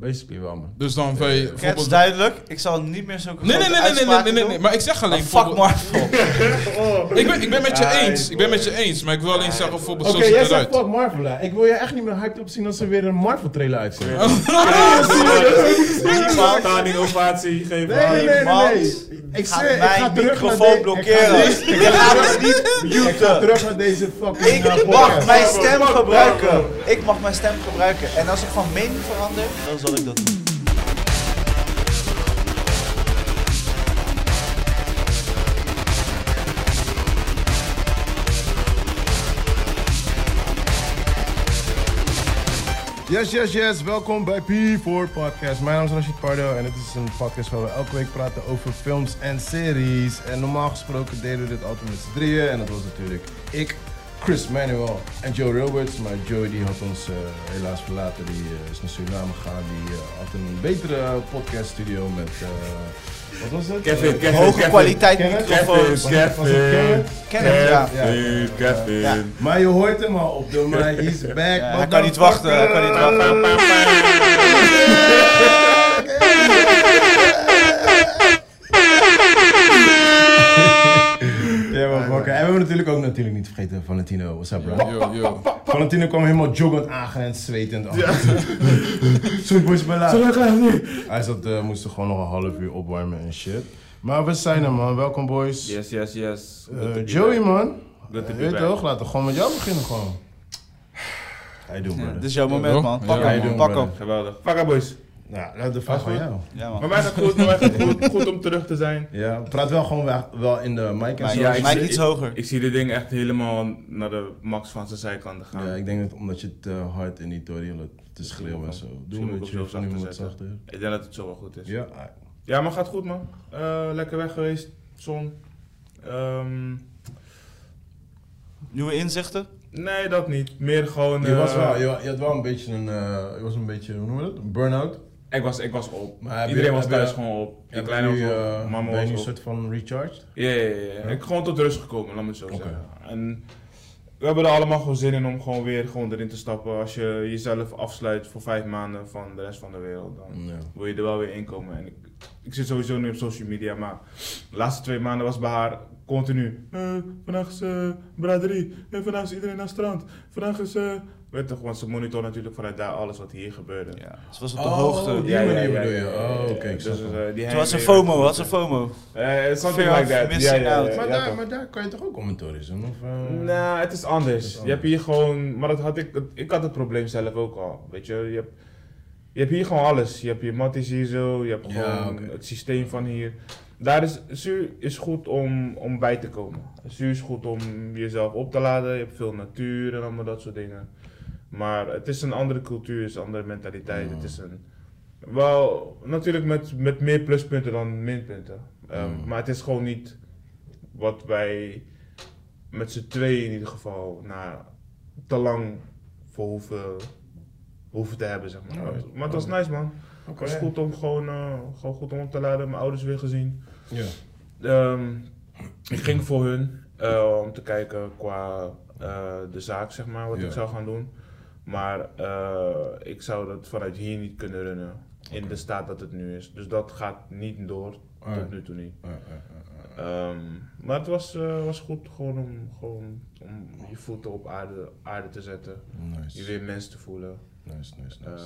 basically wel, man. Dus dan ben je Het is bijvoorbeeld... duidelijk, ik zal niet meer zulke Nee, nee, nee, nee, nee, nee, nee, nee, nee, Maar Maar ik zeg alleen... fuck bijvoorbeeld- Marvel. Ik ben, ik ben met je Ja, eens. ik- Ik ben met je eens. Maar ik wil alleen zeggen bijvoorbeeld Oké, zo ziet jij het zegt eruit. fuck Marvel, hè. Ik wil je echt niet meer hyped op zien als ze weer een Marvel trailer uitzenden. Standing ovatie geven. Nee, nee, nee, nee, Mans, nee. Ik Gaat zweer, ik ga mijn terug naar microfoon de- ik ga blokkeren. terug- Ik ga het niet Ik ga muten. terug naar deze fucking eh, Ik mag podcast. mijn stem gebruiken. Ik mag mijn stem gebruiken. En als ik van mening verander, dan zal ik dat doen. Yes, yes, yes. Welkom bij P4 Podcast. Mijn naam is Rashid Pardo en dit is een podcast waar we elke week praten over films en series. En normaal gesproken deden we dit altijd met z'n drieën. En dat was natuurlijk ik, Chris Manuel en Joe Roberts. Maar Joe die had ons eh, helaas verlaten. Die eh, is naar Suriname gegaan. Die eh, had een betere podcaststudio met... eh, wat was het? Kevin, Eh, Kevin, Hoge Kevin. kwaliteit Kevin. microfoons. Kevin, Kevin. Kevin, ja. Kevin, Ja. Kevin. Maar je hoort hem al op de... Maar he's back. Ja, hij kan niet wachten, hij kan niet wachten. Ja, maar fucker. En we hebben natuurlijk ook natuurlijk niet vergeten Valentino. What's up, bro? Yo, yo. Valentino kwam helemaal joggend aangerend, zwetend. Ja. Zo'n boys bella. Hij zat, eh, moest er gewoon nog een half uur opwarmen en shit. Maar we zijn er, man. Welkom, boys. Yes, yes, yes. Eh, Good to be Joey, back. man. Good to Eh, be Weet je back. toch? Laten we gewoon met jou beginnen, gewoon. Hij doet, Ja, brother. Dit dus is jouw moment, man. Pak Ja, hem, doen, man. Pak brother. hem. Geweldig. Vakka boys. Nou, laat de vraag van jou. Ja, Bij man. mij is het goed, nog even goed, goed om terug te zijn. Ja, praat wel gewoon wel- wel in de mic en Maar zo. ja, ja, ik mij zie- iets hoger. Ik zie dit ding echt helemaal naar de max van zijn zijkanten gaan. Ja, ik denk dat omdat je te hard in die toriel te schreeuwen en zo. Doe moet een ik beetje het van nu zachter wat zetten. zachter. Ik denk dat het zo wel goed is. Ja, Ja, maar gaat goed man. Eh, lekker weg geweest, zon. Ehm, Nieuwe inzichten? nee, dat niet. Meer gewoon. je, eh, was wel, je, wa- je had wel een beetje een, eh, je was een beetje, hoe noemen we dat? Een burn-out. Ik was, ik was op. Maar heb je- Iedereen was heb je- thuis gewoon op. De Heb kleine je nu, was op, eh, mama ben je nu een was op. soort van recharged? Ja, ja, ja, ja. Ik gewoon tot rust gekomen, laat me het zo Oké. zeggen. En we hebben er allemaal gewoon zin in om gewoon weer gewoon erin te stappen. Als je jezelf afsluit voor vijf maanden van de rest van de wereld, dan Ja. wil je er wel weer inkomen. En ik, ik zit sowieso nu op social media, maar de laatste twee maanden was bij haar continu. eh, vandaag is eh, braderie, en vandaag is iedereen naar het strand. Vandaag is. eh weet toch, want ze monitor natuurlijk vanuit daar alles wat hier gebeurde. Ja. Ze was op de hoogte. die manier bedoel je. Oh, oké, ik snap Dus, hem. eh, die Ze was een heimwee- FOMO, had ze FOMO. Eh, something Fear like of that. Ja, missing ja, ja, out. ja, Maar, ja, daar, toch. maar daar kan je toch ook commentaren doen? Of, eh? Nou, het is anders. is Je hebt hier gewoon, maar dat had ik, dat- ik had het probleem zelf ook al. Weet je, je hebt, je hebt hier gewoon alles. Je hebt je matties hier zo, je hebt Ja, gewoon oké. het systeem van hier. Daar is, Zuur is goed om, om bij te komen. Zuur is goed om jezelf op te laden. Je hebt veel natuur en allemaal dat soort dingen. Maar het is een andere cultuur, het is een andere mentaliteit. Ja. Het is een, wel, natuurlijk met, met meer pluspunten dan minpunten. Ehm, Mm. Maar het is gewoon niet wat wij met z'n tweeën in ieder geval na te lang voor hoeven, hoeven te hebben, zeg maar. Alright. Maar het was nice, man. Oké. Het was goed om gewoon, eh, gewoon goed om op te laden. Mijn ouders weer gezien. Ja. Ehm, ik ging voor hun eh, om te kijken qua eh, de zaak, zeg maar, wat Ja. ik zou gaan doen. Maar eh, ik zou dat vanuit hier niet kunnen runnen. In Oké. de staat dat het nu is. Dus dat gaat niet door. Alright. Tot nu toe niet. Eh, eh, eh, eh. Ehm, maar het was, eh, was goed gewoon om, gewoon om je voeten op aarde, aarde te zetten. Je Nice, weer mens te voelen. nice, nice, Eh, nice.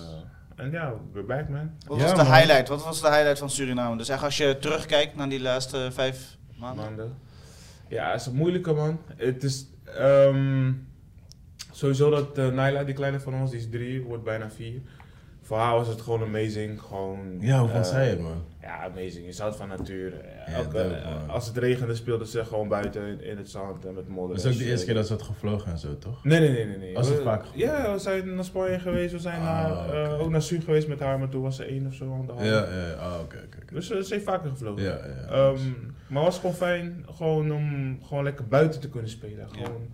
en ja, we're back man. Wat Ja, was de man. highlight? Wat was de highlight van Suriname? Dus echt als je terugkijkt naar die laatste vijf maanden. maanden. Ja, het is een moeilijke man. Het is ehm, sowieso dat eh, Naila, die kleine van ons, die is drie, wordt bijna vier. Voor haar was het gewoon amazing. Gewoon, Ja, hoe eh, vond zij het, man? Ja, amazing. Je houdt van natuur. Eh, Ja, elke- dope, eh, man. als het regende speelde ze gewoon buiten in, in het zand en met modder. Dat is en ook de shit. eerste keer dat ze had gevlogen en zo, toch? Nee, nee, nee, nee. nee. Was het We- vaak? Ja, we zijn naar Spanje geweest, we zijn Ah, naar, eh, oké. ook naar Su geweest met haar, maar toen was ze één of zo aan de hand. Ja, ja, ja. Ah, oké, oké, oké. Dus eh, ze heeft vaker gevlogen. Ja, ja, ja. Ehm, maar het was gewoon fijn gewoon om gewoon lekker buiten te kunnen spelen. Gewoon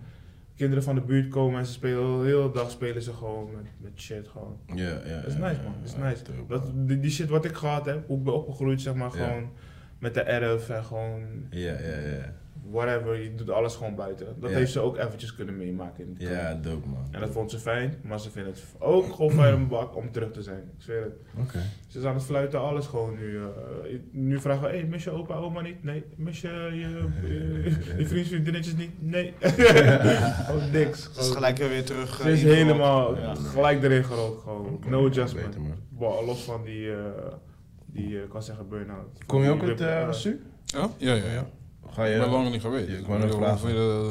kinderen van de buurt komen en ze spelen de hele dag spelen ze gewoon met, met shit gewoon. Ja, ja, ja. Dat is nice man, dat is nice. dope, Dat, man. die, die shit wat ik gehad heb, hoe ik ben opgegroeid zeg maar Ja. gewoon met de erf en gewoon Ja, ja, ja. whatever, je doet alles gewoon buiten. Dat Ja. heeft ze ook eventjes kunnen meemaken in die Ja, dope man. En dat vond ze fijn, maar ze vindt het ook gewoon fijn om bak om terug te zijn. Ik zweer het. Oké. Ze is aan het fluiten, alles gewoon nu. eh, nu vragen we, hey, mis je opa, oma niet? Nee. Mis je je, je, je vriends, vriendinnetjes niet? Nee. Gewoon niks. Ze is Gewoon- gelijk weer terug. Ze is eh, helemaal gelijk erin gerold, gewoon. No adjustment. Beter, man. Wa- los van die, eh, die eh, ik kan zeggen burn-out. Kom je ook Die uit rib- eh eh, Su? Ja, ja, ja. ja. Ga Ik ben je... lang niet geweest. Ja, ik Ik wou ben net vragen. ongeveer eh,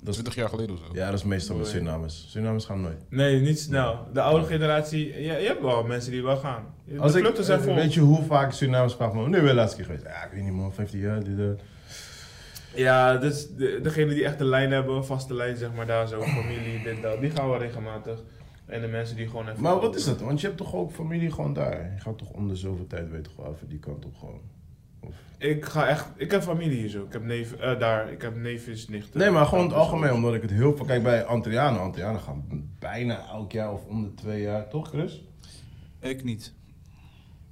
Dat is- 20 jaar geleden of zo. Ja, dat is meestal met tsunamis. Tsunamis gaan nooit. Nee, niet snel. De oude generatie, ja, je hebt wel mensen die wel gaan. De Als ik, eh, vluchten zijn vol. weet je hoe vaak tsunamis vragen me, nu ben je laatste keer geweest? Ja, ik weet niet man, 15 jaar. Dit, dat. Ja, dus de, degene die echt een lijn hebben, vaste lijn zeg maar daar zo, familie, dit, dat, die gaan wel regelmatig. En de mensen die gewoon even... Maar wat is dat? Want je hebt toch ook familie gewoon daar? Je gaat toch om de zoveel tijd weten gewoon even die kant op gewoon. Ik ga echt, ik heb familie hier zo, ik heb neef, eh, daar, ik heb neefjes, nichten. Nee, maar gewoon in het algemeen, omdat ik het heel veel kijk bij Antillianen. Antillianen gaan bijna elk jaar of om de twee jaar, toch Chris? Ik niet.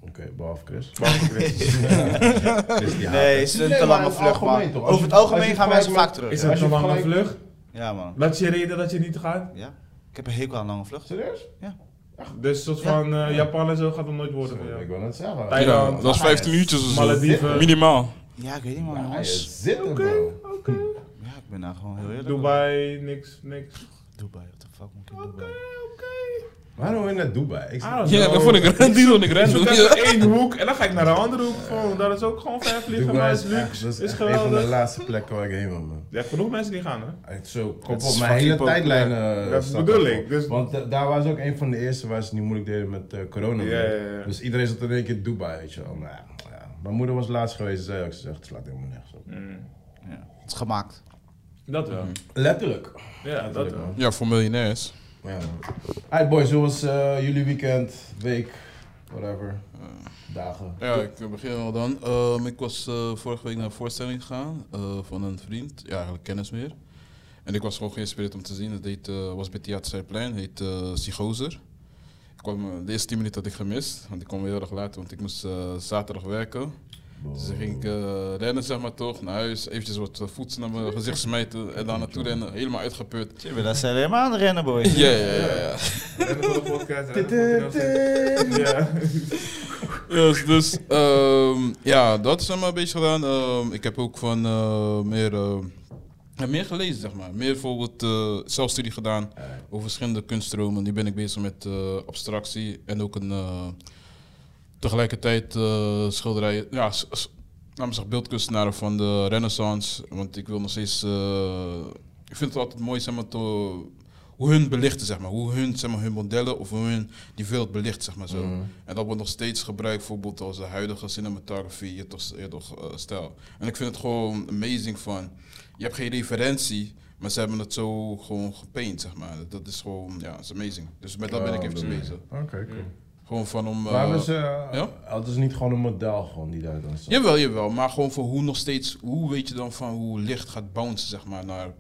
Oké, behalve Chris. Chris die haat Nee, het. het is een Nee, te maar lange in het vlucht, algemeen man. toch? Als Over je- het als algemeen je gaan mensen vergelijkt vaak terug. Is Als dat je een lange vergelijkt- vlucht? Ja, man. Dat is je reden dat je niet gaat? Ja. Ik heb een hekel aan lange vluchten. Serieus? Dus soort van eh, Japan en zo gaat het nooit worden voor Ik jou. wil net zeggen. Thailand. Ja, dat is 15 minuutjes of zo. Malediven. Minimaal. Ja, ik weet niet, man. Ja, je jongens. zit er, bro. Ja, ik ben daar gewoon heel eerlijk. Dubai, niks, niks. over. Dubai, what the fuck moet ik in Dubai? Waarom in naar Dubai? Ik Ah, snap- Ja, dat vond ik random. Die vond ik Ik zoek random. even Dus één hoek en dan ga ik naar de andere hoek gewoon. Dat is ook gewoon ver vliegen, maar Dubai is echt- luxe, dat is, echt een van de geweldig. laatste plekken waar ik heen wil, man. Je hebt genoeg mensen die gaan hè? Echt Zo, kom Het is op, mijn hele fucking tijdlijn. populair. eh, Dat staat bedoel erop. ik, dus- Want eh, daar was ook een van de eerste waar ze het niet moeilijk deden met eh, corona. Ja, man. ja, ja. Dus iedereen zat in één keer in Dubai, weet je wel. Maar ja, ja. Mijn moeder was laatst geweest, zei ook, ze zegt, het slaat helemaal nergens op. Ja. Het is gemaakt. Dat wel. Letterlijk. Ja, dat Letterlijk, wel. man. Ja, voor miljonairs. Ja, man. Alright boys, hoe was eh, jullie weekend, week, whatever, dagen? Ja, ik eh, begin al dan. Ehm, ik was eh, vorige week naar een voorstelling gegaan eh, van een vriend, ja, eigenlijk kennis meer. En ik was gewoon geïnspireerd om te zien. Het heet, eh, was bij Theater Zijplein, heet eh Psychoser. Ik kwam, eh, de eerste 10 minuten had ik gemist, want ik kwam heel erg laat, want ik moest eh, zaterdag werken. Dus dan ging ik eh, rennen, zeg maar toch, naar huis, eventjes wat eh, voedsel naar mijn gezicht smijten en daar naartoe rennen, helemaal uitgeput. Je bent daar helemaal aan het rennen, boy. Ja, ja, ja, ja. Rennen voor de podcast, rennen voor de podcast. Ja. Yes, dus ehm, ja, dat is allemaal een beetje gedaan. Ehm, ik heb ook van eh, meer, ehm, ja, meer gelezen, zeg maar. Meer bijvoorbeeld eh, zelfstudie gedaan over verschillende kunststromen. Nu ben ik bezig met eh, abstractie en ook een eh, tegelijkertijd eh schilderijen. Ja, s- s- laat me zeggen, beeldkunstenaren van de renaissance. Want ik wil nog steeds... eh, ik vind het altijd mooi, zeg maar, to- hoe hun belichten, zeg maar. Hoe hun, zeg maar, hun modellen of hoe hun die wereld belicht, zeg maar zo. En dat wordt nog steeds gebruikt, bijvoorbeeld als de huidige cinematografie, je toch, je toch eh, stijl. En ik vind het gewoon amazing van, je hebt geen referentie, maar ze hebben het zo gewoon gepaint, zeg maar. Dat is gewoon, ja, is amazing. Dus met dat ben ik Oh, eventjes dat- bezig. Oké, cool. Gewoon van om... eh, maar hebben ze, eh, ja? hadden ze niet gewoon een model gewoon die daar dan staat? Jawel, jawel. Maar gewoon voor hoe nog steeds, hoe weet je dan van hoe licht gaat bouncen, zeg maar, naar...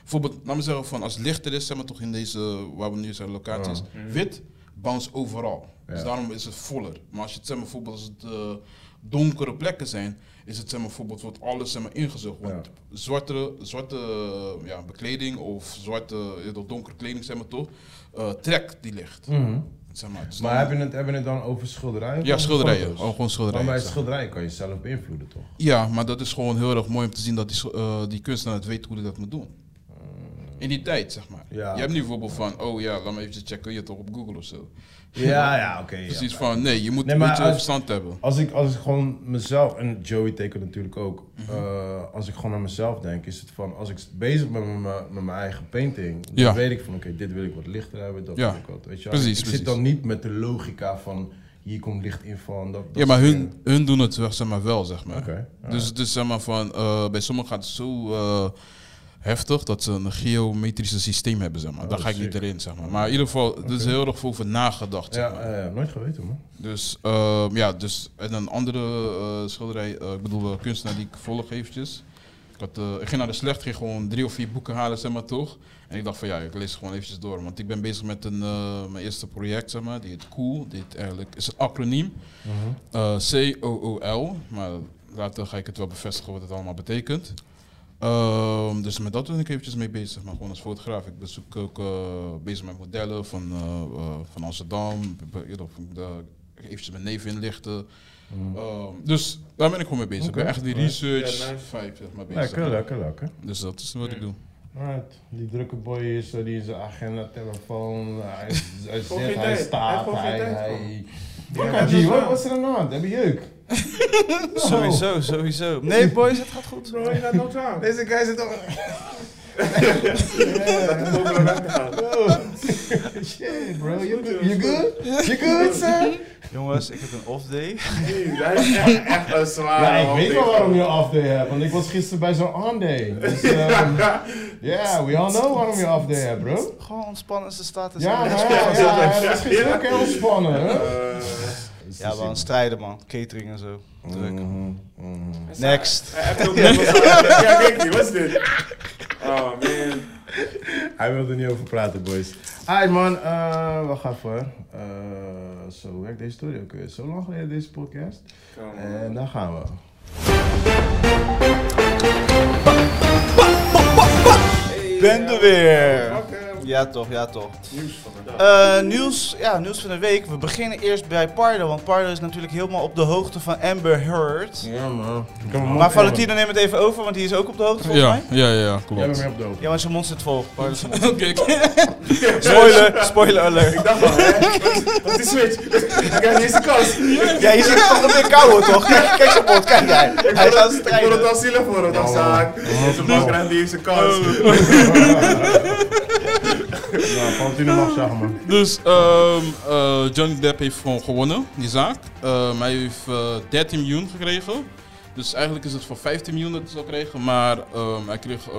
Bijvoorbeeld, laat me zeggen, van als licht er is, zeg maar toch in deze, waar we nu zijn, locaties, wit, bounce overal. Dus Ja. daarom is het voller. Maar als je het, zeg maar, bijvoorbeeld als het eh, donkere plekken zijn, is het, zeg maar, bijvoorbeeld wordt alles, zeg maar, ingezogen. Want zwarte, zwarte eh, ja, bekleding of zwarte, eh, donkere kleding, zeg maar toch, eh, trekt die licht. Mhm. Zeg maar. Dus Maar dan- hebben we het, hebben we het dan over schilderijen? ja, Of schilderijen. foto's? Oh, gewoon Maar schilderijen. bij zeg maar. schilderijen kan je zelf beïnvloeden, toch? Ja, maar dat is gewoon heel erg mooi om te zien dat die, so- eh, die kunstenaar het weet hoe hij dat moet doen. In die tijd, zeg maar. Mm. Ja. Je hebt nu bijvoorbeeld van, oh ja, laat me even checken, je toch op Google of zo. Ja, ja, oké. ja. Precies van, nee, je moet Nee, een maar beetje als- verstand hebben. Als ik, als ik gewoon mezelf, en Joey tekent natuurlijk ook, Mhm. eh, als ik gewoon aan mezelf denk, is het van, als ik bezig ben met mijn, met mijn eigen painting, dan Ja. weet ik van, oké, dit wil ik wat lichter hebben, dat Ja. wil ik wat, weet je wel. Precies, Ik precies. zit dan niet met de logica van, hier komt licht in van, dat, dat Ja, maar soort hun, dingen. hun doen het wel, zeg maar, wel, zeg maar. Oké, dus het is, zeg maar, van, eh, bij sommigen gaat het zo eh, heftig dat ze een geometrische systeem hebben, zeg maar. Daar ga ik niet Oh, sick. erin, zeg maar. Maar in ieder geval, er is heel erg veel over nagedacht, zeg maar. Ja, eh, nooit geweten, man. Dus ehm, ja, dus en een andere eh, schilderij, eh, ik bedoel eh, kunstenaar die ik volg eventjes. Ik, had, eh, ik ging naar de slecht, ging gewoon drie of vier boeken halen, zeg maar toch. En ik dacht van ja, ik lees het gewoon eventjes door. Want ik ben bezig met een, eh, mijn eerste project, zeg maar, die heet COOL. Dit eigenlijk is een acroniem. Eh, C-O-O-L, maar later ga ik het wel bevestigen wat het allemaal betekent. Ehm, dus met dat ben ik eventjes mee bezig, maar gewoon als fotograaf. Ik bezoek ook eh, bezig met modellen van, eh, eh, van Amsterdam. Ik ben- je weet of ik daar eventjes mijn neef inlichten. Ehm, dus daar ben ik gewoon mee bezig. Ik ben echt die research Ja, nice. vibe zeg maar, bezig. Lekker, lekker, lekker. Dus dat is wat ik doe. Alright, die drukke boy is, eh, die is zijn agenda, telefoon, hij, is- hij Gewoon geen zit, hij tijd. Hij heeft staat, gewoon geen hij... tijd, hij... man. Ja, Ja, G, dat wat wel. wat is er aan de hand? Heb je jeuk? Sowieso, sowieso. Nee, boys, het gaat goed. Bro, je laat nooit aan. Deze guy zit al... Shit, bro, you good? You good? You good, sir? Jongens, ik heb een off day. Hij is echt, echt een zware Ja, Nou, ik weet wel hoofd. waarom je off day hebt, want ik was gisteren bij zo'n on day. Dus, ehm, yeah, we all know waarom je off day hebt, bro. Gewoon ontspannen ze staat. en Ja, zo. nou ja, ja, ja, dat is gisteren ook heel spannend, hè? Eh, Ja, wel een strijden, man. Catering en zo. Druk. Mhm, mhm. Next. Hij heeft ook net als- Ja, kijk die, wat is dit? Oh man. Hij wil er niet over praten, boys. Hi man, eh wacht even. Eh, zo hoe werkt deze story ook weer. Zo lang geleden deze podcast. En daar gaan we. Ben er weer. Welke Ja, toch, ja, toch. eh, nieuws van de dag? Eh, nieuws, ja, nieuws van de week. We beginnen eerst bij Pardo, want Pardo is natuurlijk helemaal op de hoogte van Amber Heard. Ja man. Maar Valentino neemt het even over, want die is ook op de hoogte volgens Ja, mij. ja, ja, Jij bent klopt. mee op de hoogte. Ja, want zijn mond zit vol. Pardo is- Oké, oké. Spoiler, spoiler alert. Ik dacht al, hè? Wat is switch? Ik heb deze kans. Oh, Ja, je ziet het toch een beetje kou hoor, toch? Kijk, kijk zijn mond, kijk jij. Hij is aan het Ik wil het strijden. al zielig voor hem, dat zaak. Oh, Deze man die heeft zijn kans. Ja, Valentino mag zeggen man. Dus ehm, eh, Johnny Depp heeft gewoon gewonnen, die zaak. Ehm, hij heeft eh, 13 miljoen gekregen. Dus eigenlijk is het voor 15 miljoen dat hij zou krijgen. Maar ehm, hij kreeg, ehm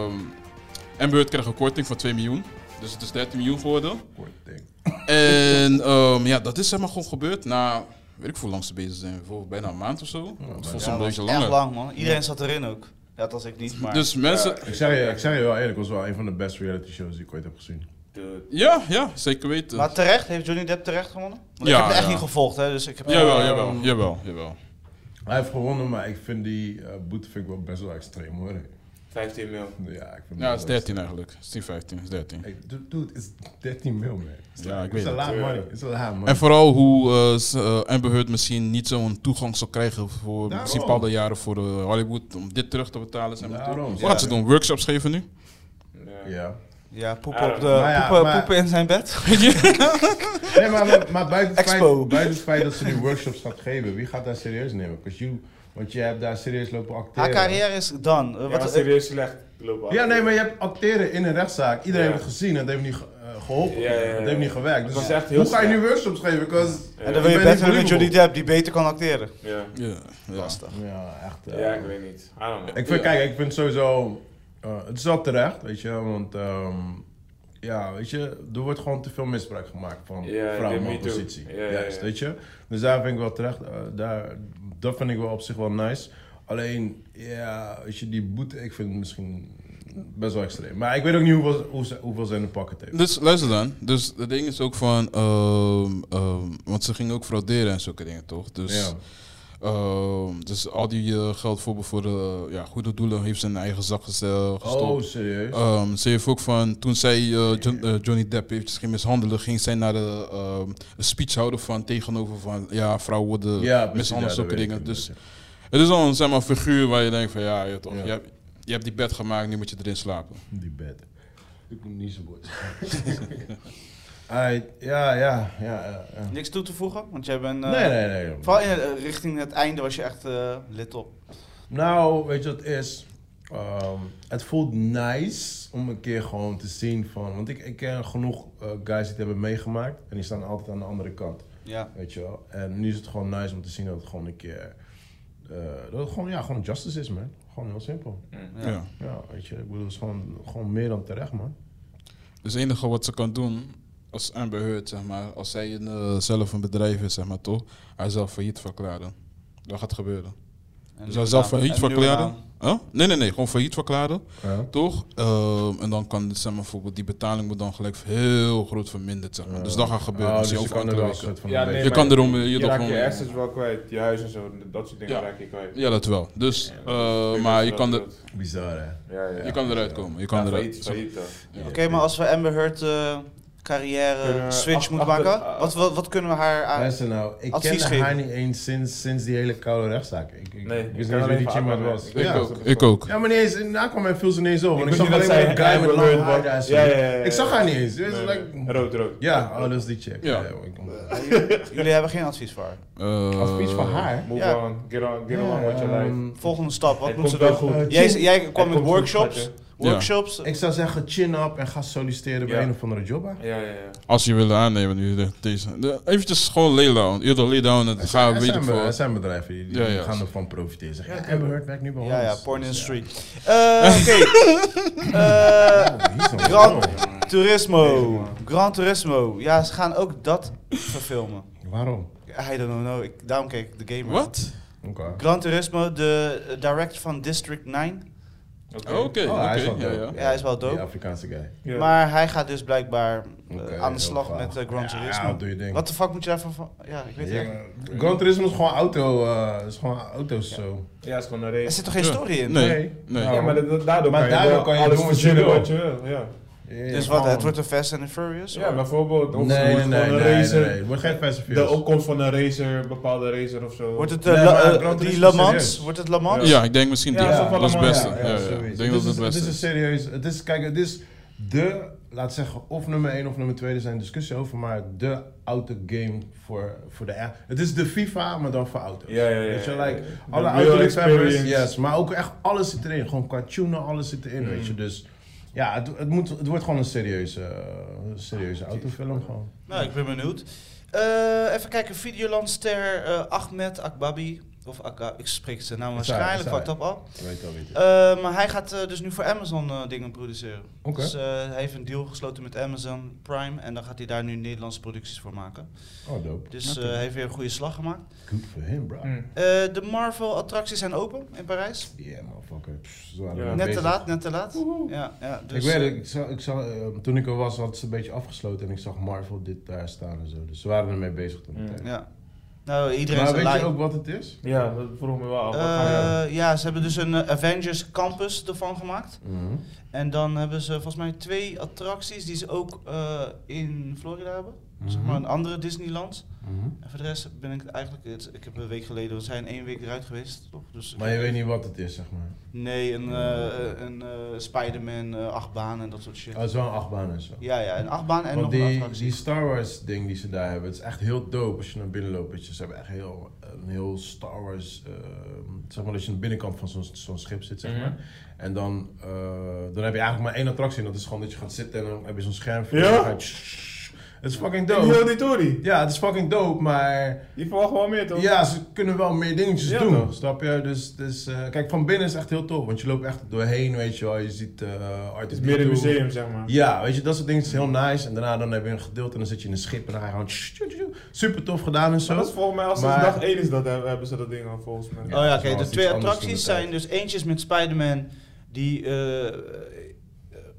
Amber Heard kreeg een korting van 2 miljoen. Dus het is 13 miljoen geworden. Kort ding. En ehm, ja, dat is zeg maar gewoon gebeurd na, weet ik hoe lang ze bezig zijn, voor bijna een maand of zo. Het voelt Ja, soms een beetje echt langer. lang man. Iedereen zat erin ook. Ja, dat was ik niet, maar... Dus mensen, Ik zeg je, ik zeg je wel eerlijk, het was wel een van de best reality shows die ik ooit heb gezien. ja, ja, zeker weten. Maar terecht, heeft Johnny Depp terecht gewonnen? Want Ja, ik heb het echt ja. niet gevolgd, hè, dus ik heb... Jawel, jawel, Ehm, jawel, jawel. Hij heeft gewonnen, maar ik vind die eh, boete vind ik wel best wel extreem hoor. 15 mil. Ja, ik vind dat Ja, het is wel- 13 eigenlijk. Het is niet 15, het is 13. Hey, dude, dude, het is 13 mil man. Ja, ik It's weet a het. lot of money. It's a lot of money. En vooral hoe eh, s- eh, Amber Heard misschien niet zo'n toegang zal krijgen voor Daarom. misschien bepaalde jaren voor eh, Hollywood om dit terug te betalen. Zijn we toe. Daarom, Wat ja. gaat ze doen? Workshops geven nu? Ja. Ja, poepen, Ja, op de, maar Nou ja, poepen, maar- poepen in zijn bed. Nee, maar, maar, maar buiten, het Expo. feit, buiten het feit dat ze die workshops gaat geven, wie gaat daar serieus nemen? 'Cause You, want je hebt daar serieus lopen acteren. Haar carrière is dan. Ja, maar serieus slecht. Loop af. Ja, nee, maar je hebt acteren in een rechtszaak. Iedereen Ja. heeft het gezien en het heeft niet ge- eh, geholpen. Ja, ja, ja. Het heeft niet gewerkt. Het Dus was echt heel hoe ga je nu slecht. workshops geven? 'Cause En dan ik wil je ben niet beter met Johnny believable. Depp, die beter kan acteren. Ja. Ja, ja. Lastig. Ja, echt. eh, Ja, ik weet niet. I don't know. Ik vind, Ja. kijk, ik vind sowieso, eh, het is wel terecht, weet je, want ehm, ja, weet je, er wordt gewoon te veel misbruik gemaakt van Ja, ik vrouwen denk in me too. positie. Ja, ja, Juist, ja. weet je. Dus daar vind ik wel terecht, eh, daar, dat vind ik wel op zich wel nice. Alleen, ja, weet je, die boete, ik vind het misschien best wel extreem. Maar ik weet ook niet hoeveel, hoe ze- hoeveel ze in de pakken heeft. Dus luister dan. Dus het ding is ook van, ehm, ehm, want ze gingen ook frauderen en zulke dingen toch? Dus, Ja. ehm, dus al die eh, geld voor, voor eh, ja, goede doelen heeft ze in eigen zak gez- eh, gestopt. Oh, serieus? Ehm, ze heeft ook van, toen zij eh, John- eh, Johnny Depp eventjes ging mishandelen, ging zij naar de ehm, een speech houden van tegenover van, ja, vrouwen worden ja, precies, mishandeld, ja, zulke dat weet ik dingen. Dus inderdaad, het is al een zeg maar, figuur waar je denkt van, ja, je, toch, Ja. Je, hebt, je hebt die bed gemaakt, nu moet je erin slapen. ja. Die bed. Ik moet niet zo boos. Alright, ja, ja, ja, ja. ja. Niks toe te voegen, want jij bent... eh, Nee, nee, nee. joh. Vooral in, eh, richting het einde was je echt eh lit op. Nou, weet je wat het is? Ehm, het voelt nice om een keer gewoon te zien van... Want ik, ik ken genoeg eh, guys die het hebben meegemaakt. En die staan altijd aan de andere kant. Ja. Weet je wel? En nu is het gewoon nice om te zien dat het gewoon een keer... eh, dat het gewoon, ja, gewoon justice is, man. Gewoon heel simpel. Ja. Ja. Ja, weet je. Ik bedoel, het is gewoon, gewoon meer dan terecht, man. Dus het enige wat ze kan doen, als Amber Heard, zeg maar, als zij een, eh, zelf een bedrijf is, zeg maar, toch, haar zelf failliet verklaren. Dat gaat gebeuren. Dus hij zelf een failliet verklaren. Huh? Nee, nee, nee, gewoon failliet verklaren. Ja. Toch? Ehm, en dan kan zeg maar, bijvoorbeeld die betaling wordt dan gelijk heel groot verminderd. Zeg maar. Dus dat gaat gebeuren. Ah, Dus dus je over kan er enkele wel een weken. soort van Ja, een nee, beetje- je maar kan erom, eh, je Je toch raakt je gewoon- assets wel kwijt, je huis en zo, dat soort dingen Ja. raak je kwijt. Ja, dat wel. Dus, Ja, eh, Ik maar weet je dat kan, er, dat- Bizar, hè? Ja, ja. je kan eruit komen. Je Ja, kan failliet, eruit. failliet dan. Oké, maar als we Amber Heard eh, carrière Kunnen we switch achter- moeten achter- maken, eh, wat, wat, wat kunnen we haar aan... Luister nou, ik Advies ken haar geven. niet eens sinds, sinds die hele koude rechtszaak. Ik, ik, Nee, ik wist ik niet ken wie alleen die van chimmer Aquaman. was. Ik Ja. ook. Ik ook. Ja, maar niet eens, na kwam hij viel ze niet eens over. Ik, weet zag niet alleen dat maar zij een guy met Amber lang Heard haar was. daar zo. Ja, ja, ja, ja. Ik zag haar niet eens. Dus Nee, like- nee. Um, Rood, rood. Ja, oh, dat is die chick. Ja. ik- Jullie hebben geen advies voor haar. Eh, Advies van haar? Move Ja. on, get on, get along with your life. Ehm, Volgende stap, wat Het moeten ze komt wel doen? goed. Eh, Jij, chin- jij kwam met het komt goed, workshops, schatje. Ja. workshops, Ik zou zeggen, chin up en ga solliciteren bij Ja. een of andere job. hè? Ja, ja, ja. Als je wil aannemen nu de- deze. De, eventjes gewoon laydown. Eerder laydown en ga er, weet ik zijn, be- veel. er zijn bedrijven die, die Ja, ja. gaan ervan profiteren. Zeggen, ja, Amber Heard werkt nu bij ons. Ja, ja, porn Dus, industry. Eh, Oké. Eh, ja. Oh, die is wel Grand mooi. Turismo. Gran Turismo. Ja, ze gaan ook dat verfilmen. Waarom? I don't know. Ik, daarom keek ik de gamer. Wat? Oké. Gran Turismo, de eh, director van District 9. Oké. Oké, oké. Oh, hij is wel ja, dope. ja. Ja, hij is wel dope. Die Afrikaanse guy. Ja. Maar hij gaat dus blijkbaar eh, Oké, aan de heel slag gaaf. met eh, Gran Ja, Turismo. doe je ding. Wat de fuck moet je daarvan van... Ja, ik weet het Ja, eigenlijk Gran Turismo is gewoon auto, eh, is gewoon auto's zo. Ja, is gewoon een niet. Er race. zit toch geen story in? Nee, Nee. nee. Nou, Ja, maar dat- dat- daardoor Maar kan je, daardoor wel kan je alles doen wat je verzinnen wil. wat je wil. Ja, Dus wat, het wordt een Fast and the Furious? ja of- bijvoorbeeld. Of Nee, het wordt nee, nee, gewoon een nee, racer. nee, nee. Het wordt geen Fast and De Furious. opkomst van een racer, bepaalde racer of zo. Wordt het eh, Nee, La- maar eh, Gran die Turismo Le is Mans? serieus. Wordt het Le Mans? Ja, ik denk misschien die. Ja, dat is dat is het allemaal- beste. ja, Ja, ja, Ik denk dat dit, dat is, het dit beste is is. serieus. Het is, kijk, het is de, laat zeggen, of nummer 1 of nummer 2. Er zijn discussies over, maar de autogame voor, voor de. Het is de FIFA, maar dan voor auto's. Ja, ja, ja, Weet je, ja, ja. like, De alle real autoliefhebbers. experience. Yes, maar ook echt alles zit erin. Gewoon qua tunen, alles zit erin, weet je. Dus ja, het, het, moet, het wordt gewoon een serieuze, eh, serieuze autofilm gewoon. Nou, ik ben benieuwd. Eh, even kijken, Videolandster eh, Ahmed Akbabi. Of Akka, ik spreek zijn naam Is hij, waarschijnlijk is wat hij. op al. Je weet wel wie het is. Eh, maar hij gaat eh, dus nu voor Amazon eh, dingen produceren. Oké. Dus eh, hij heeft een deal gesloten met Amazon Prime. En dan gaat hij daar nu Nederlandse producties voor maken. Oh, dope. Dus eh, hij heeft weer een goede slag gemaakt. Good for him, bro. Hm. Eh, de Marvel-attracties zijn open in Parijs. Yeah, motherfucker. Pff, ze waren Ja. ermee Net te bezig. laat, net te laat. Ja, ja, dus, ik weet het, eh, ik zag, ik zag, eh, toen ik er was, had ze een beetje afgesloten en ik zag Marvel dit daar staan en zo. Dus ze waren ermee bezig toen. Ja. tijd. eh, Ja. Nou, iedereen Maar is weet je live. ook wat het is? Ja, dat vroeg me wel af. Wat gaan we doen? Eh, ja, ze hebben dus een eh, Avengers Campus ervan gemaakt. Mhm. En dan hebben ze volgens mij twee attracties die ze ook eh, in Florida hebben. Mhm. Zeg maar een andere Disneyland. En voor de rest ben ik eigenlijk... het- ik heb een week geleden, we zijn één week eruit geweest, toch? Dus ik Maar je weet niet wat het is, zeg maar. Nee, een, eh een eh, Spider-Man eh, achtbaan en dat soort shit. Oh, het is wel een achtbaan en zo. Ja, ja, een achtbaan en Want nog een die, attractie. die Star Wars ding die ze daar hebben, het is echt heel dope als je naar binnen loopt. weet je. Ze hebben echt heel, een heel Star Wars, eh, zeg maar dat je aan de binnenkant van zo'n zo'n schip zit, zeg Mhm. maar. En dan, eh, dan heb je eigenlijk maar één attractie en dat is gewoon dat je gaat zitten en dan heb je zo'n scherm. voor je Eh, Ja? en dan ga je tss- Het is fucking Die dope. heel die Tory. Ja, het is fucking dope, maar Die verwacht wel meer toch? Ja, ze kunnen wel meer dingetjes Ja, doen, toch? snap je? Dus, dus eh, kijk, van binnen is echt heel tof, want je loopt echt doorheen, weet je wel. Je ziet eh Het is artist meer een museum, zeg maar. Ja, weet je, dat soort dingen is heel nice. En daarna dan heb je een gedeelte en dan zit je in een schip en dan ga je gewoon tss, tss, tss, tss. super tof gedaan en Maar zo. dat is volgens mij, als Maar- het dag 1 is, dat hebben hebben ze dat ding al volgens mij. Ja. Oh ja, dat oké. is wel De iets twee anders attracties dan de zijn dus eentjes met Spider-Man die eh, eh,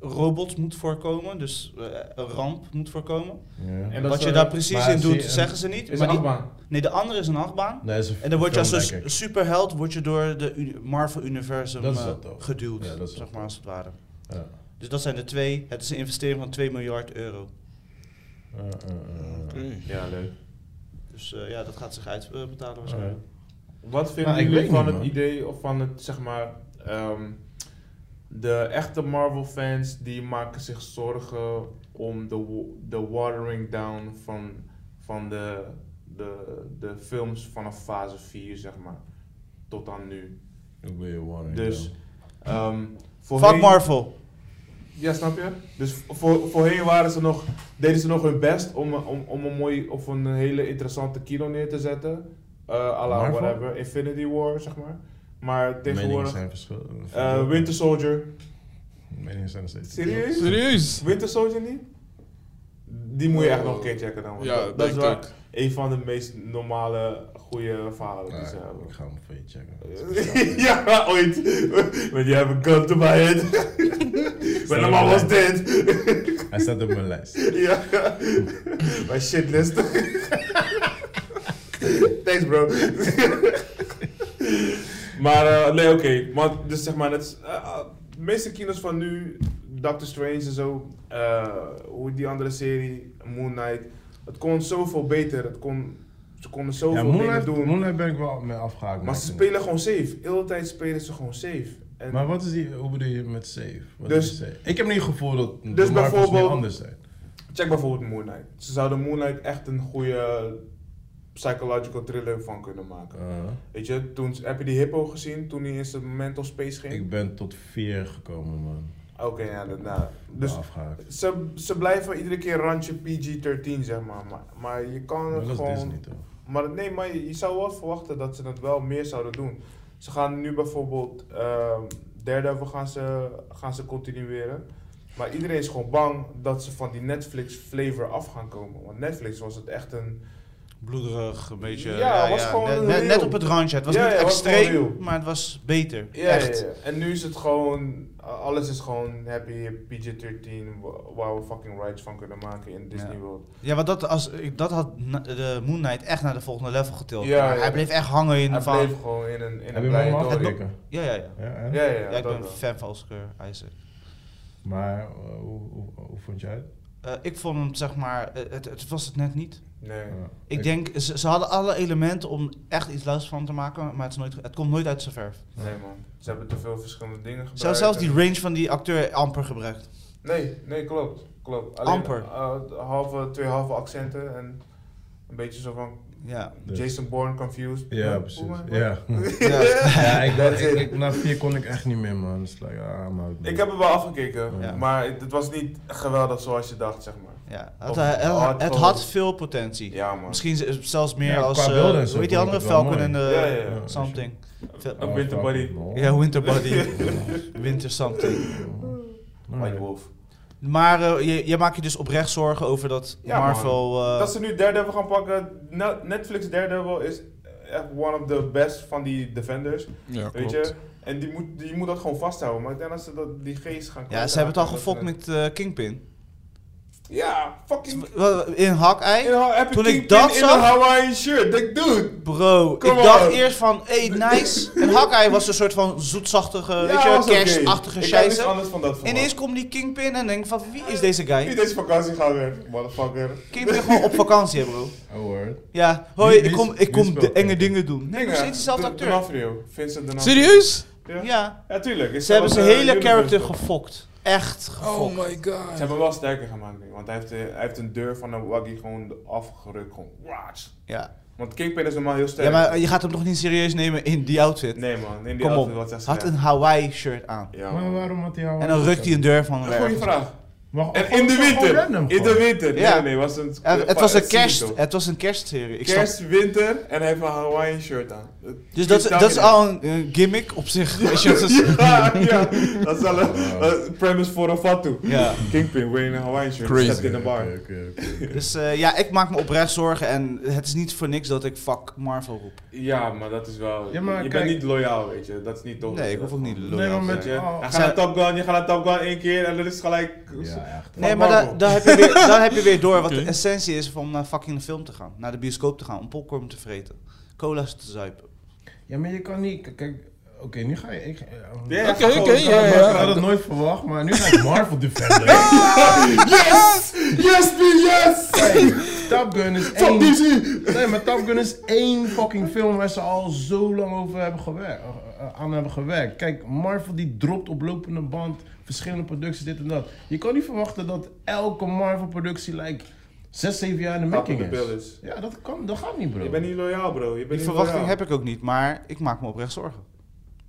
robots moet voorkomen, dus eh, een ramp moet voorkomen. Ja. En dat Wat is, je eh, daar precies maar in doet, zie- zeggen ze niet. Is maar een die- achtbaan. nee, de andere is een achtbaan. Nee, dat is een En dan word je als film, een denk ik. s- superheld word je door de uni- Marvel Universum Dat is eh, dat ook. geduwd, Ja, dat is zeg dat maar als het ware. Ja. Dus dat zijn de twee. Het is een investering van 2 miljard euro. Eh, eh, eh. Oké. Ja, leuk. Dus eh, ja, dat gaat zich uitbetalen waarschijnlijk. Wat vinden Nou, ik jullie weet van niet, het man. idee of van het zeg maar ehm, de echte Marvel fans die maken zich zorgen om de, wa- de watering down van, van de, de, de films vanaf fase 4 zeg maar tot aan nu. Ik ben je warning, Dus ehm voorheen- Fuck Marvel. Ja, snap je? Dus voor, voorheen waren ze nog, deden ze nog hun best om, om, om een mooi of een hele interessante kino neer te zetten. eh à la Marvel? whatever, Infinity War, zeg maar. Maar ja. Meningen tegenwoordig. zijn verschillend. eh, Winter Soldier. Meningen zijn er steeds. Serieus? Serieus? Winter Soldier niet? Die moet je echt nog een keer checken dan. want Oh. Ja, dat, dat is denk wel, ik. een van de meest normale, goede verhalen die ze Ah, hebben. ik ga hem voor je checken. ja, ooit. Want jij hebt een gun to my head. But normaal was dead. Hij staat op mijn lijst. ja. Mijn shitlist. Thanks, bro. maar eh, nee, oké. Want dus zeg maar, het is, eh, eh, de meeste kino's van nu, Doctor Strange en zo, eh, hoe die andere serie, Moon Knight, het kon zoveel beter. Het kon, ze konden Ja, zoveel Moonlight, dingen doen. Moonlight ben ik wel mee afgehaakt. Maar ze spelen gewoon safe. De hele tijd spelen ze gewoon safe. En Maar wat is die, hoe bedoel je met safe? Wat Dus- is safe? Ik heb niet het gevoel dat de Dus Marvels bijvoorbeeld- nu anders zijn. Check bijvoorbeeld Moon Knight. Ze zouden Moon Knight echt een goede psychological thriller van kunnen maken. Uh, Weet je, toen, heb je die hippo gezien toen hij in zijn mental space ging? ik ben tot 4 gekomen, man. Oké, ja, dat, nou, dus Dus, afgehaakt. ze, ze blijven iedere keer randje PG-13, zeg maar. maar. Maar je kan Maar het dat is gewoon... Disney toch? Maar nee, maar je je zou wel verwachten dat ze dat wel meer zouden doen. Ze gaan nu bijvoorbeeld ehm Daredevil gaan ze, gaan ze continueren. Maar iedereen is gewoon bang dat ze van die Netflix flavor af gaan komen. Want Netflix was het echt een... Bloederig, een beetje. Ja, was gewoon net, real. net- net op het randje. Het was Ja, niet ja, was gewoon extreem, real. maar het was beter. Ja, Echt. ja, ja. En nu is het gewoon... a- Alles is gewoon happy PG-13 wa- waar we fucking rights van kunnen maken in Disney Ja. World. Ja, want dat, als, ik- dat had na- de Moon Knight echt naar de volgende level getild. Ja, Maar ja. Hij bleef echt hangen in Hij van... bleef gewoon in een, Heb je in een hem blije al dooi. afgekeken? Ja, ja, ja. Ja, hè? Ja, ja, Ja, dat ik ben wel. fan van Oscar Isaac. Maar eh, hoe, hoe, hoe vond jij het? Eh, ik vond hem, zeg maar, eh, het, het was het net niet. Nee. Ja. Ik, denk, ze, ze hadden alle elementen om echt iets luids van te maken, maar het, is nooit, het komt nooit uit zijn verf. Nee man, ze hebben te veel verschillende dingen gebruikt. Zelfs, zelfs die range van die acteur amper gebruikt. Nee, nee, klopt. klopt. Amper. eh, halve, twee halve accenten en een beetje zo van Ja. Dus- Jason Bourne confused. Ja, Huh? precies. Oh my God. Ja. ja. ja, ik, That's ik, it. ik, na vier kon ik echt niet meer, man. Dus like, ah, I'm out, man. Ik heb hem wel afgekeken, Ja. maar het het was niet geweldig zoals je dacht, zeg maar. ja. Het, Of het- hard het forward. had veel potentie. Ja man. Misschien z- zelfs meer Ja, als, qua eh, beelden en zo hoe heet die vond ik andere het wel Falcon en mooi. eh, Ja, ja, ja. something. Veel- Oh, Een winter buddy. Ja, Winter Body. Winter something. White Wolf. Maar eh, je, je maakt je dus oprecht zorgen over dat Ja, Marvel... eh, Dat ze nu Daredevil gaan pakken. Ne- Netflix Daredevil is echt one of the best van die Defenders, Ja, weet klopt. je. En die moet, die moet dat gewoon vasthouden, maar ik denk dat ze dat, die geest gaan ja, kwijtraken, ze hebben het al dat ze gefokt dat- met eh, Kingpin. eh, Ja, fucking In Hawkeye? In Haw- heb Toen ik Kingpin dat in zag- Eh, een Hawaiian shirt. Ik dude. Bro, Come ik dacht on. eerst van, hey, nice. En Hawkeye was een soort van zoetzachtige, weet was je, oké. kerstachtige Ik had niks scheisse. anders van dat verwacht. Ineens komt die Kingpin en denk van, wie is deze Wie guy? deze vakantie gaat weg, motherfucker. Kingpin gewoon op vakantie, hè, bro. Oh, word. Ja, Wie- hoi, wie ik kom, is- ik wie kom speelt de enge Kingpin? dingen doen. Nee, nog steeds dezelfde De- acteur. D'Onofrio. Vincent D'Onofrio. Serieus? Ja. ja. Ja, tuurlijk. Is ze hebben dat, zijn eh, hele universe character toch? gefokt. Echt gefokt. Oh my Ze god. hebben hem wel sterker gemaakt nu, want hij heeft, eh, hij heeft een deur van een waggy gewoon afgerukt. Gewoon, waats. Ja. Want Kingpin is normaal heel sterk. ja, maar je gaat hem nog niet serieus nemen in die outfit. Nee man, in die Kom outfit was op, echt had sterk. een Hawaii shirt aan. Ja, Maar man. waarom had hij jou... En dan rukt hij een deur van Goeie weg. vraag. Maar- En in de gewoon random, winter. In de gewoon. winter. Ja. Nee, nee, was een... Ja, het was een zie je kerst, toch. het was een kerstserie. Ik snap- Kerst, winter en hij heeft een Hawaiian shirt aan. Dus dat, is- dat is al een eh, gimmick op zich. Weet je, dat is- ja, ja, dat is al een een premise voor een fatu. Ja. Kingpin wearing a Hawaiian shirt. Crazy. Stepped in a bar. Oké, oké, oké. Dus eh, ja, ik maak me oprecht zorgen en het is niet voor niks dat ik fuck Marvel roep. Ja, maar dat is wel. Ja, maar je kijk- bent niet loyaal, weet je. Dat is niet toch. Nee, ik hoef ook niet Nee, loyaal maar te met... zijn. Je, oh, hij gaat Zijn- naar Top Gun, je gaat naar Top Gun één keer en dat is gelijk. Ja, echt. Nee, Fuck maar da- Marvel. daar heb, je weer, daar heb je weer door wat Oké. de essentie is om naar fucking de film te gaan. Naar de bioscoop te gaan, om popcorn te vreten. Cola's te zuipen. Ja, maar je kan niet... Kijk, oké, nu ga je... Ik, ja, Ja, Oké, gewoon- oké, ja, Maar ja. Ik had het nooit verwacht, maar nu ga ik Marvel defender. Yes! Yes, B, yes! Hey, Top Gun is Fuck één... DC! Nee, maar Top Gun is één fucking film waar ze al zo lang over hebben gewerkt, eh, eh, aan hebben gewerkt. Kijk, Marvel die dropt op lopende band verschillende producties, dit en dat. Je kan niet verwachten dat elke Marvel-productie, like, zes, zeven jaar in de Top making of the is. bill is. Ja, dat, kan, dat gaat niet, bro. Je bent niet loyaal, bro. Je bent Die niet verwachting loyaal. heb ik ook niet, maar ik maak me oprecht zorgen.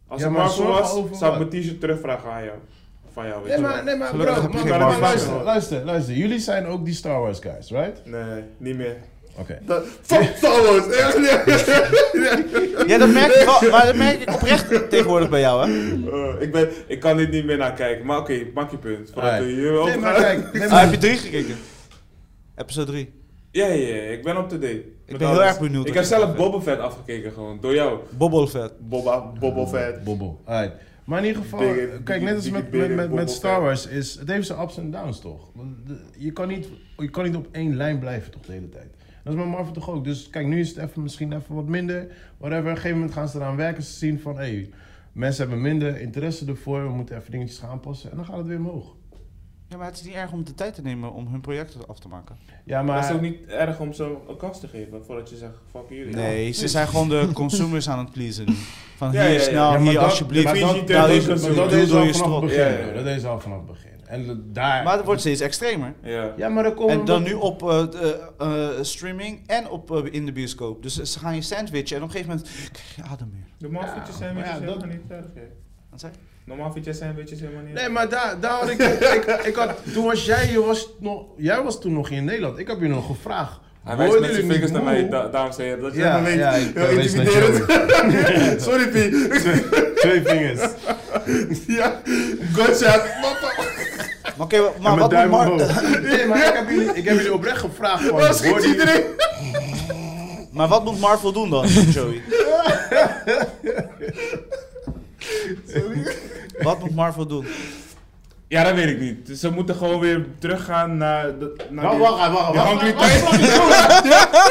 Als Ja, het maar Marvel zorgen was, over zou ik wat? mijn t-shirt terugvragen aan jou. Van jou, weet Nee, je maar, wel. nee, maar Gelukkig bro, heb ik maar, geen maar Marvel. luister, luister, luister. Jullie zijn ook die Star Wars guys, right? Nee, niet meer. Oké. Dat, fuck Star Wars! Ja, dat merk ik, wel, maar dat merk ik oprecht tegenwoordig bij jou, hè? Eh, ik, ben, ik kan dit niet meer naar kijken. Maar oké, maak je punt. Voordat Alright. we hier Nee, maar kijk. Nee, Ah, heb je maar, drie gekeken? Episode 3. Ja, ja, ja, ik ben op de date. Ik ben heel erg benieuwd Ik wat heb je zelf gaat doen. Boba Fett afgekeken gewoon, door jou. Bobbelvet. Boba, Boba Fett. Bobbel. Alright. Maar in ieder geval, eh, Biggie- kijk, Biggie- net als Biggie met, met, Biggie met, met Bobbel Star Fett. Wars, is, het heeft zijn ups en downs toch? Want de- Je kan, niet, je kan niet op één lijn blijven toch de hele tijd. Dat is met Marvel toch ook. Dus kijk, nu is het even, misschien even wat minder. Whatever. Op een gegeven moment gaan ze eraan werken. Ze zien van, hé, hey, mensen hebben minder interesse ervoor. We moeten even dingetjes gaan aanpassen. En dan gaat het weer omhoog. Ja, maar het is niet erg om de tijd te nemen om hun projecten af te maken. Ja, Maar is maar... het ook niet erg om ze een kans te geven voordat je zegt, fuck jullie. Nee, ze zijn gewoon de consumers aan het pleasen. nu. Van Ja, hier, ja, ja. snel, Ja, maar hier, dat- alsjeblieft. maar dat- dat- Daar dat- is- dat- Maar doe- dat deed ze doe je al vanaf het strot. Ja, ja, begin. ja. hoor. Dat deed ze al vanaf het begin. En daar... Maar het wordt steeds extremer. Ja. Ja, maar dan komen... En dan nu op eh, de, eh, streaming en op eh, in de bioscoop. Dus ze gaan je sandwichen en op een gegeven moment krijg je ademweer. De maffietjes zijn maar ja, ja, dat- helemaal niet erg, hè. Wat zei je? Normaal vind jij sandwiches helemaal niet Nee, maar daar, daar had ik, ik, ik had, toen was jij, je was nog, jij was toen nog hier in Nederland. Ik heb je nog gevraagd. Hij worden wijst met zijn jullie vingers naar moe? mij, da daarom zei je dat je Ja, ja, helemaal weet. ik Heel eh, wees net intimiderend. jonger. Sorry, P. Twee vingers. ja, gotcha. Mappa. Maar oké, maar En wat met moet duim Mar- omhoog. Nee, maar ik heb jullie, ik heb jullie oprecht gevraagd. Van, Waar schiet worden jullie- iedereen? maar wat moet Marvel doen dan, Joey? Wat moet Marvel doen? Ja, dat weet ik niet. Dus ze moeten gewoon weer teruggaan naar... De, naar Wacht, die- Nou, wacht, wacht, wacht. Die hangry wacht, tijd. wacht, wacht,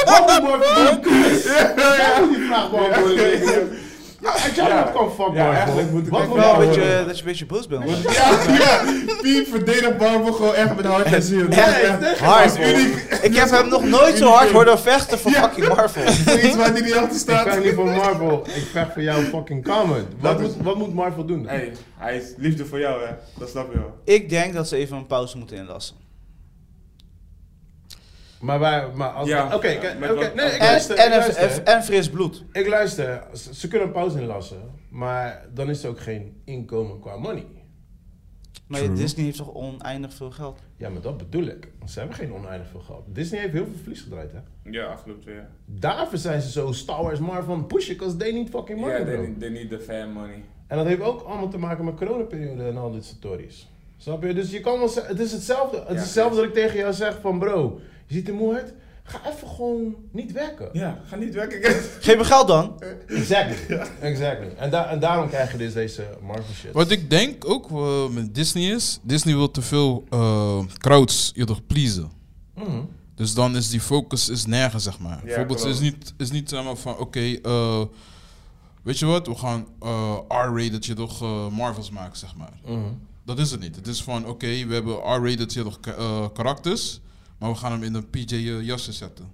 wacht, wacht, wacht, wacht, wacht, wacht, wacht, wacht, wacht, die vraag beantwoorden. Ja, als jij Ja. dat kan fuck Ja, man. eigenlijk moet ik Wat echt voor wel man Wel een hoor. beetje, eh, dat je een beetje boos bent. Ja, ja. Piep verdedigt Marvel gewoon echt met hart en ziel. Ja, het is echt Hard. Marvel. Ik heb hem nog nooit zo hard horen vechten voor fucking Marvel. Voor iets waar hij niet achter Ik staat. vecht niet voor Marvel, ik vecht voor jouw fucking comment. Wat, Dat is- moet, wat moet Marvel doen? Hey, hij is liefde voor jou, hè. Dat snap je wel. Ik denk dat ze even een pauze moeten inlassen. Maar wij, maar als... Ja. Oké, kijk, Ja, met oké, wat- nee, ik En- luister, En, ik en, luister. en, en fris bloed. Ik luister, ze ze kunnen een pauze inlassen, maar dan is er ook geen inkomen qua money. Maar True. Disney heeft toch oneindig veel geld? Ja, maar dat bedoel ik. Ze hebben geen oneindig veel geld. Disney heeft heel veel verlies gedraaid, hè. Ja, afgelopen twee jaar. Daarvoor Daarvoor zijn ze zo Star Wars Marvel pushen, because they need fucking money, Ja, bro. they they need the fan money. En dat heeft ook allemaal te maken met coronaperiode en al dit soort stories. Snap je? Dus je kan wel zeggen, het is hetzelfde. Het is Ja. hetzelfde dat ik tegen jou zeg van, bro, je ziet er moe uit, ga even gewoon niet werken. Ja, ga niet werken, guys. Geef me geld dan. Exactly, exactly. En, da- en daarom krijg je dus deze Marvel shit. Wat ik denk ook eh, met Disney is, Disney wil te veel eh, crowds eerder pleasen. Mhm. Dus dan is die focus is nergens, zeg maar. Bijvoorbeeld, ze is klopt. niet, is niet zeg maar, van, oké, eh, weet je wat, we gaan eh R-rated je toch eh, Marvels maken, zeg maar. Mhm. Dat is het niet. Het is van, oké, we hebben R-rated je toch ka- eh, karakters, maar we gaan hem in een PJ-jassen zetten.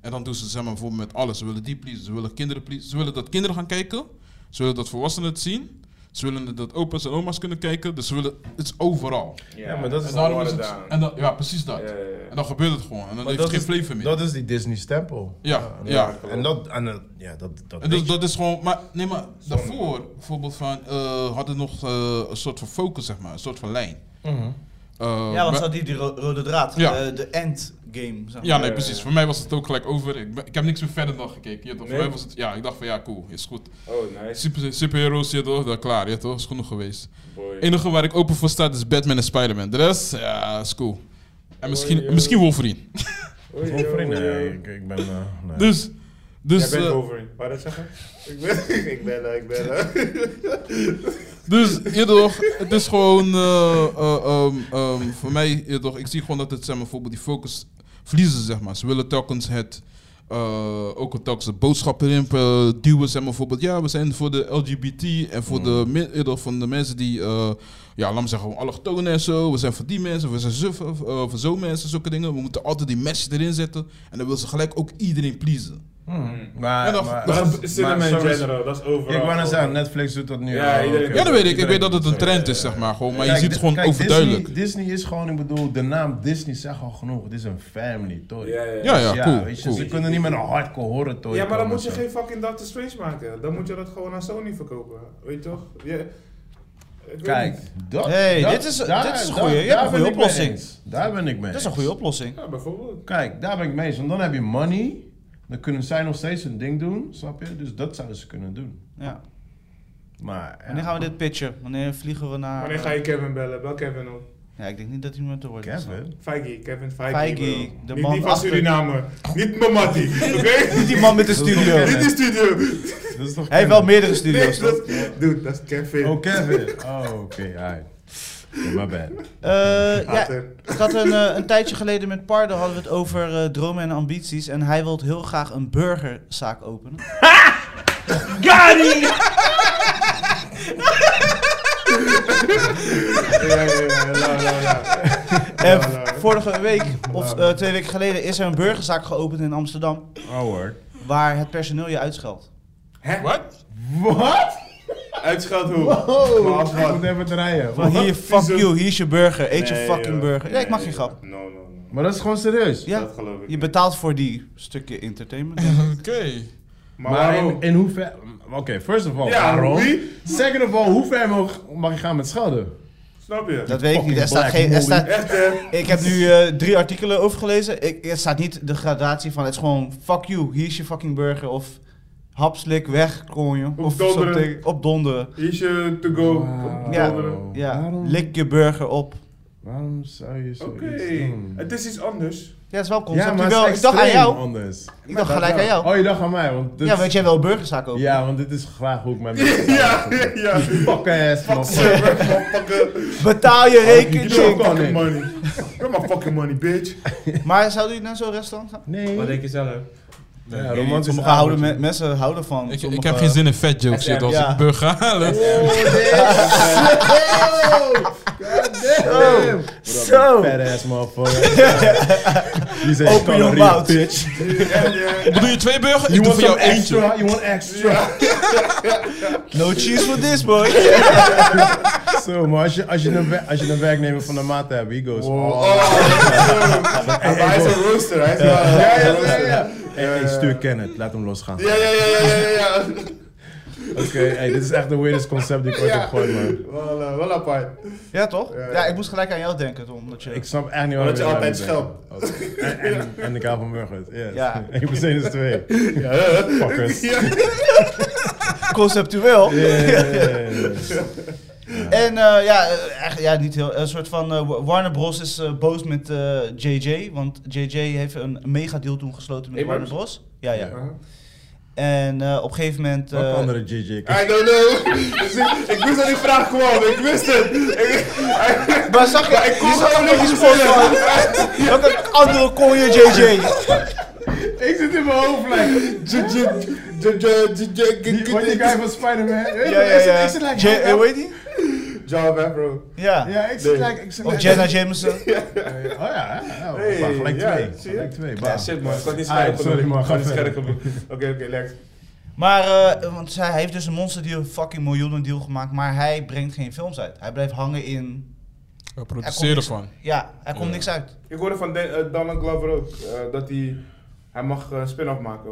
En dan doen ze zeg maar, bijvoorbeeld met alles. Ze willen die pleasen, ze willen kinderen pleasen, ze willen dat kinderen gaan kijken, ze willen dat volwassenen het zien, ze willen dat opa's en oma's kunnen kijken, dus ze willen, het is overal. Ja, maar dat is En dan daarom is het, en dan, ja, precies dat. Ja, ja, ja. En dan gebeurt het gewoon. En dan Maar heeft het geen dat is- flavor meer. Dat is die Disney stempel. Ja, ja. En dat, en dat- ja, dat, dat, En weet dus je. dat is gewoon, maar nee, maar daarvoor bijvoorbeeld van eh hadden nog eh, een soort van focus, zeg maar, een soort van lijn. Mhm. Eh, Ja, want maar- ze hadden die ro- rode draad. Ja. eh, De endgame. Zeg maar. ja, Eh. nee, precies. Voor mij was het ook gelijk over. Ik, ben- ik heb niks meer verder dan gekeken. Je, weet toch? Nee? Voor mij was het, ja, ik dacht van ja, cool, is goed. Oh, nice. Super, superheroes, je toch, daar klaar, je toch, is genoeg geweest. Boy. Het enige waar ik open voor sta is Batman en Spider-Man. De rest, ja, is cool. En misschien, Oei, oei. misschien Wolverine. Of Oei, nee, oei, oei. nee, ik, ik ben... eh, nee. Dus, dus, Jij bent eh, Wolverine. Wou je dat zeggen? Ik ben, ik ben, eh, ik ben. eh. Dus, je toch, het is gewoon, eh, eh, ehm, ehm, voor mij, je toch, ik zie gewoon dat het, zeg maar, bijvoorbeeld die focus verliezen, zeg maar. Ze willen telkens het, eh, ook een telkens de boodschap erin eh, duwen, zeg maar, bijvoorbeeld, ja, we zijn voor de LGBT en voor de, mi- je toch, van de mensen die, eh, ja, laat me zeggen, gewoon allochtonen en zo, we zijn voor die mensen, we zijn zo, eh, voor zo mensen, zulke dingen. We moeten altijd die message erin zetten en dan wil ze gelijk ook iedereen pleasen. Hmm. Maar, En dan- maar, dan- maar- Dat is cinema in maar- general, dat is overal. Ik wou net zeggen, Netflix doet dat nu. Ja, al. iedereen- Ja, dat weet ik. Ik weet Iedereen dat het doet een trend is, zeg maar, gewoon, maar je Kijk, ziet di- het gewoon kijk, overduidelijk. Disney, Disney is gewoon, ik bedoel, de naam Disney zegt al genoeg. Het is een family, toch? Ja, ja, Ja, ja, ja, cool. weet je, cool. Ze kunnen niet met een hardcore horror toy Ja, maar dan komen, moet je zo. geen fucking Doctor Strange maken. Dan moet je dat gewoon aan Sony verkopen. Weet je toch? Ja. Ik weet Kijk, niet. dat... Hey, dat- dit is- dit is een daar- goeie. Je hebt daar een goeie ben ik mee oplossing. eens. Daar ben ik mee Dat is een eens. goede oplossing. Ja, bijvoorbeeld. Kijk, daar ben ik mee eens. Want dan heb je money. Dan kunnen zij nog steeds hun ding doen, snap je? Dus dat zouden ze kunnen doen. Ja. Maar, ja. Wanneer gaan we dit pitchen? Wanneer vliegen we naar... Wanneer ga je Kevin bellen? Bel Kevin op. Ja, ik denk niet dat hij me te worden is. Oh, Kevin? Feige, Kevin Feige. Feige, de bro. niet man die van achter- Suriname. Niet Mamati. Oké? Niet die man met de studio. Kevin. Dit is studio. Dat is toch Hij heeft wel meerdere studio's. Dit, toch? dat, dude, dat is Kevin. Oh, Kevin. Oh, oké, hi. Yeah, my bad. Eh, ja, Later. ik had een, eh, een tijdje geleden met Pardo hadden we het over eh, dromen en ambities. En hij wil heel graag een burgerzaak openen. Ja, ja, ja, la, la, la. En vorige week, of eh, twee weken geleden, is er een burgerzaak geopend in Amsterdam. Oh, word. Waar het personeel je uitscheldt. Hè? Wat? Wat? Uitscheld hoe? Maar Oh, als ik moet wat? even draaien. Van Wat? hier, fuck you, hier is je burger. Eet Nee, je fucking joh. burger. Ja, ik mag Nee, geen grap. No, no, no. Maar dat is gewoon serieus. Ja, Dat geloof ik je niet. betaalt voor die stukje entertainment. Oké. Maar, Maar in, waarom? in hoeverre... Oké, first of all, Ja, waarom? wie? Second of all, hoe ver mag, mag je gaan met schelden? Snap je? Dat weet ik niet. Er staat Black geen, er Moly. staat, Echt, hè? Ik heb nu eh, drie artikelen over gelezen. Ik, er staat niet de gradatie van het is gewoon fuck you, hier is je fucking burger. Of hapslik weg, konjo. Of donderen. something. Op donderen. Hier is je to go. Wauw. Ja. Oké. Ja, Waarom? lik je burger op. Waarom zou je zoiets doen? Het is iets anders. Ja, dat is wel concept. Ja, maar wel, het is ik dacht aan extreem jou. anders. Ik dacht dat gelijk wel. aan jou. Oh, je dacht aan mij, want dit, ja, want jij wil een burgerzaak open. ja, want dit is graag hoe ik mijn... ja, ja. Fuck ass, motherfucker. Betaal Oh, je Fuck rekening. you. fucking money. Give my fucking money, bitch. Maar zou je naar zo'n restaurant gaan? Nee. Wat denk je zelf? Ja, romantisch Sommige houden me- mensen houden van. Ik, ik sommige- heb geen zin in fat jokes SM, shit als ja. ik burger halen. Goddamn! Zo. Oh, Fat ass motherfucker. Die zei, Open your mouth. bitch. Bedoel je twee burgers? You Ik doe want voor jou some eentje. extra? You want extra? No cheese for this boy. Zo, maar als je, als, je een, wer- als je een werknemer van de maat hebt, he goes... Oh, Oh. hij is een rooster. Hij is Ja, ja, ja, ja. Oh. ja, ja. Hey, hey, stuur Kenneth, laat hem losgaan. Ja, ja, ja, ja, ja, ja. Oké, hey, dit is echt de weirdest concept die ik ooit Ja. heb gehoord, man. Voilà, wel apart. Ja, toch? Ja, ja. Ja, ik moest gelijk aan jou denken. Omdat je... Ik snap echt niet waarom Omdat je daar altijd niet scheldt. bent. En, en, en ik hou van burgers, yes. Ja. 1 plus 1 is 2. Ja, hè? Fuckers. Ja. Conceptueel. Yeah. Dus, En eh, ja, eh, echt, ja, niet heel. Een soort van eh, Wa- Warner Bros. is eh, boos met eh, JJ. Want JJ heeft een mega deal toen gesloten met Abrams? Warner Bros. Ja, ja. Uh-huh. En eh, op een gegeven moment. eh, Welke andere JJ? I don't know. Dus ik, ik wist dat die vraag kwam. Ik wist het. Ik, Maar zag je, Maar ik kon je zag gewoon hem ook niet eens voor je. verzinnen. Welke andere kon je JJ? Ik zit in mijn hoofd, like. Die- Wat die guy van Spider-Man. Weet je Ja, wat, ik zit- ja, ja. Ik zit like. J- eh, hoe heet die? Job, hè, bro. Ja. Ja, ik zit Nee. like. Ik zit Of like- Jenna Jameson. Oh ja, ja, ja. Hey, Bah, gelijk ja, twee. zie je? Gelijk twee. Ja, bah. shit man, ik was niet Ah, scherp sorry, man, genoeg. Ik ga was niet verder. scherp genoeg. Oké, oké, Lex. Maar, eh, want zij, hij heeft dus een monster deal, fucking miljoenen deal gemaakt. Maar hij brengt geen films uit. Hij blijft hangen in. We Hij komt produceren niks- van. Ja, er komt Ja. niks uit. Ik hoorde van Dan- eh, Donald Glover ook eh, dat hij, hij mag eh, spin-off maken.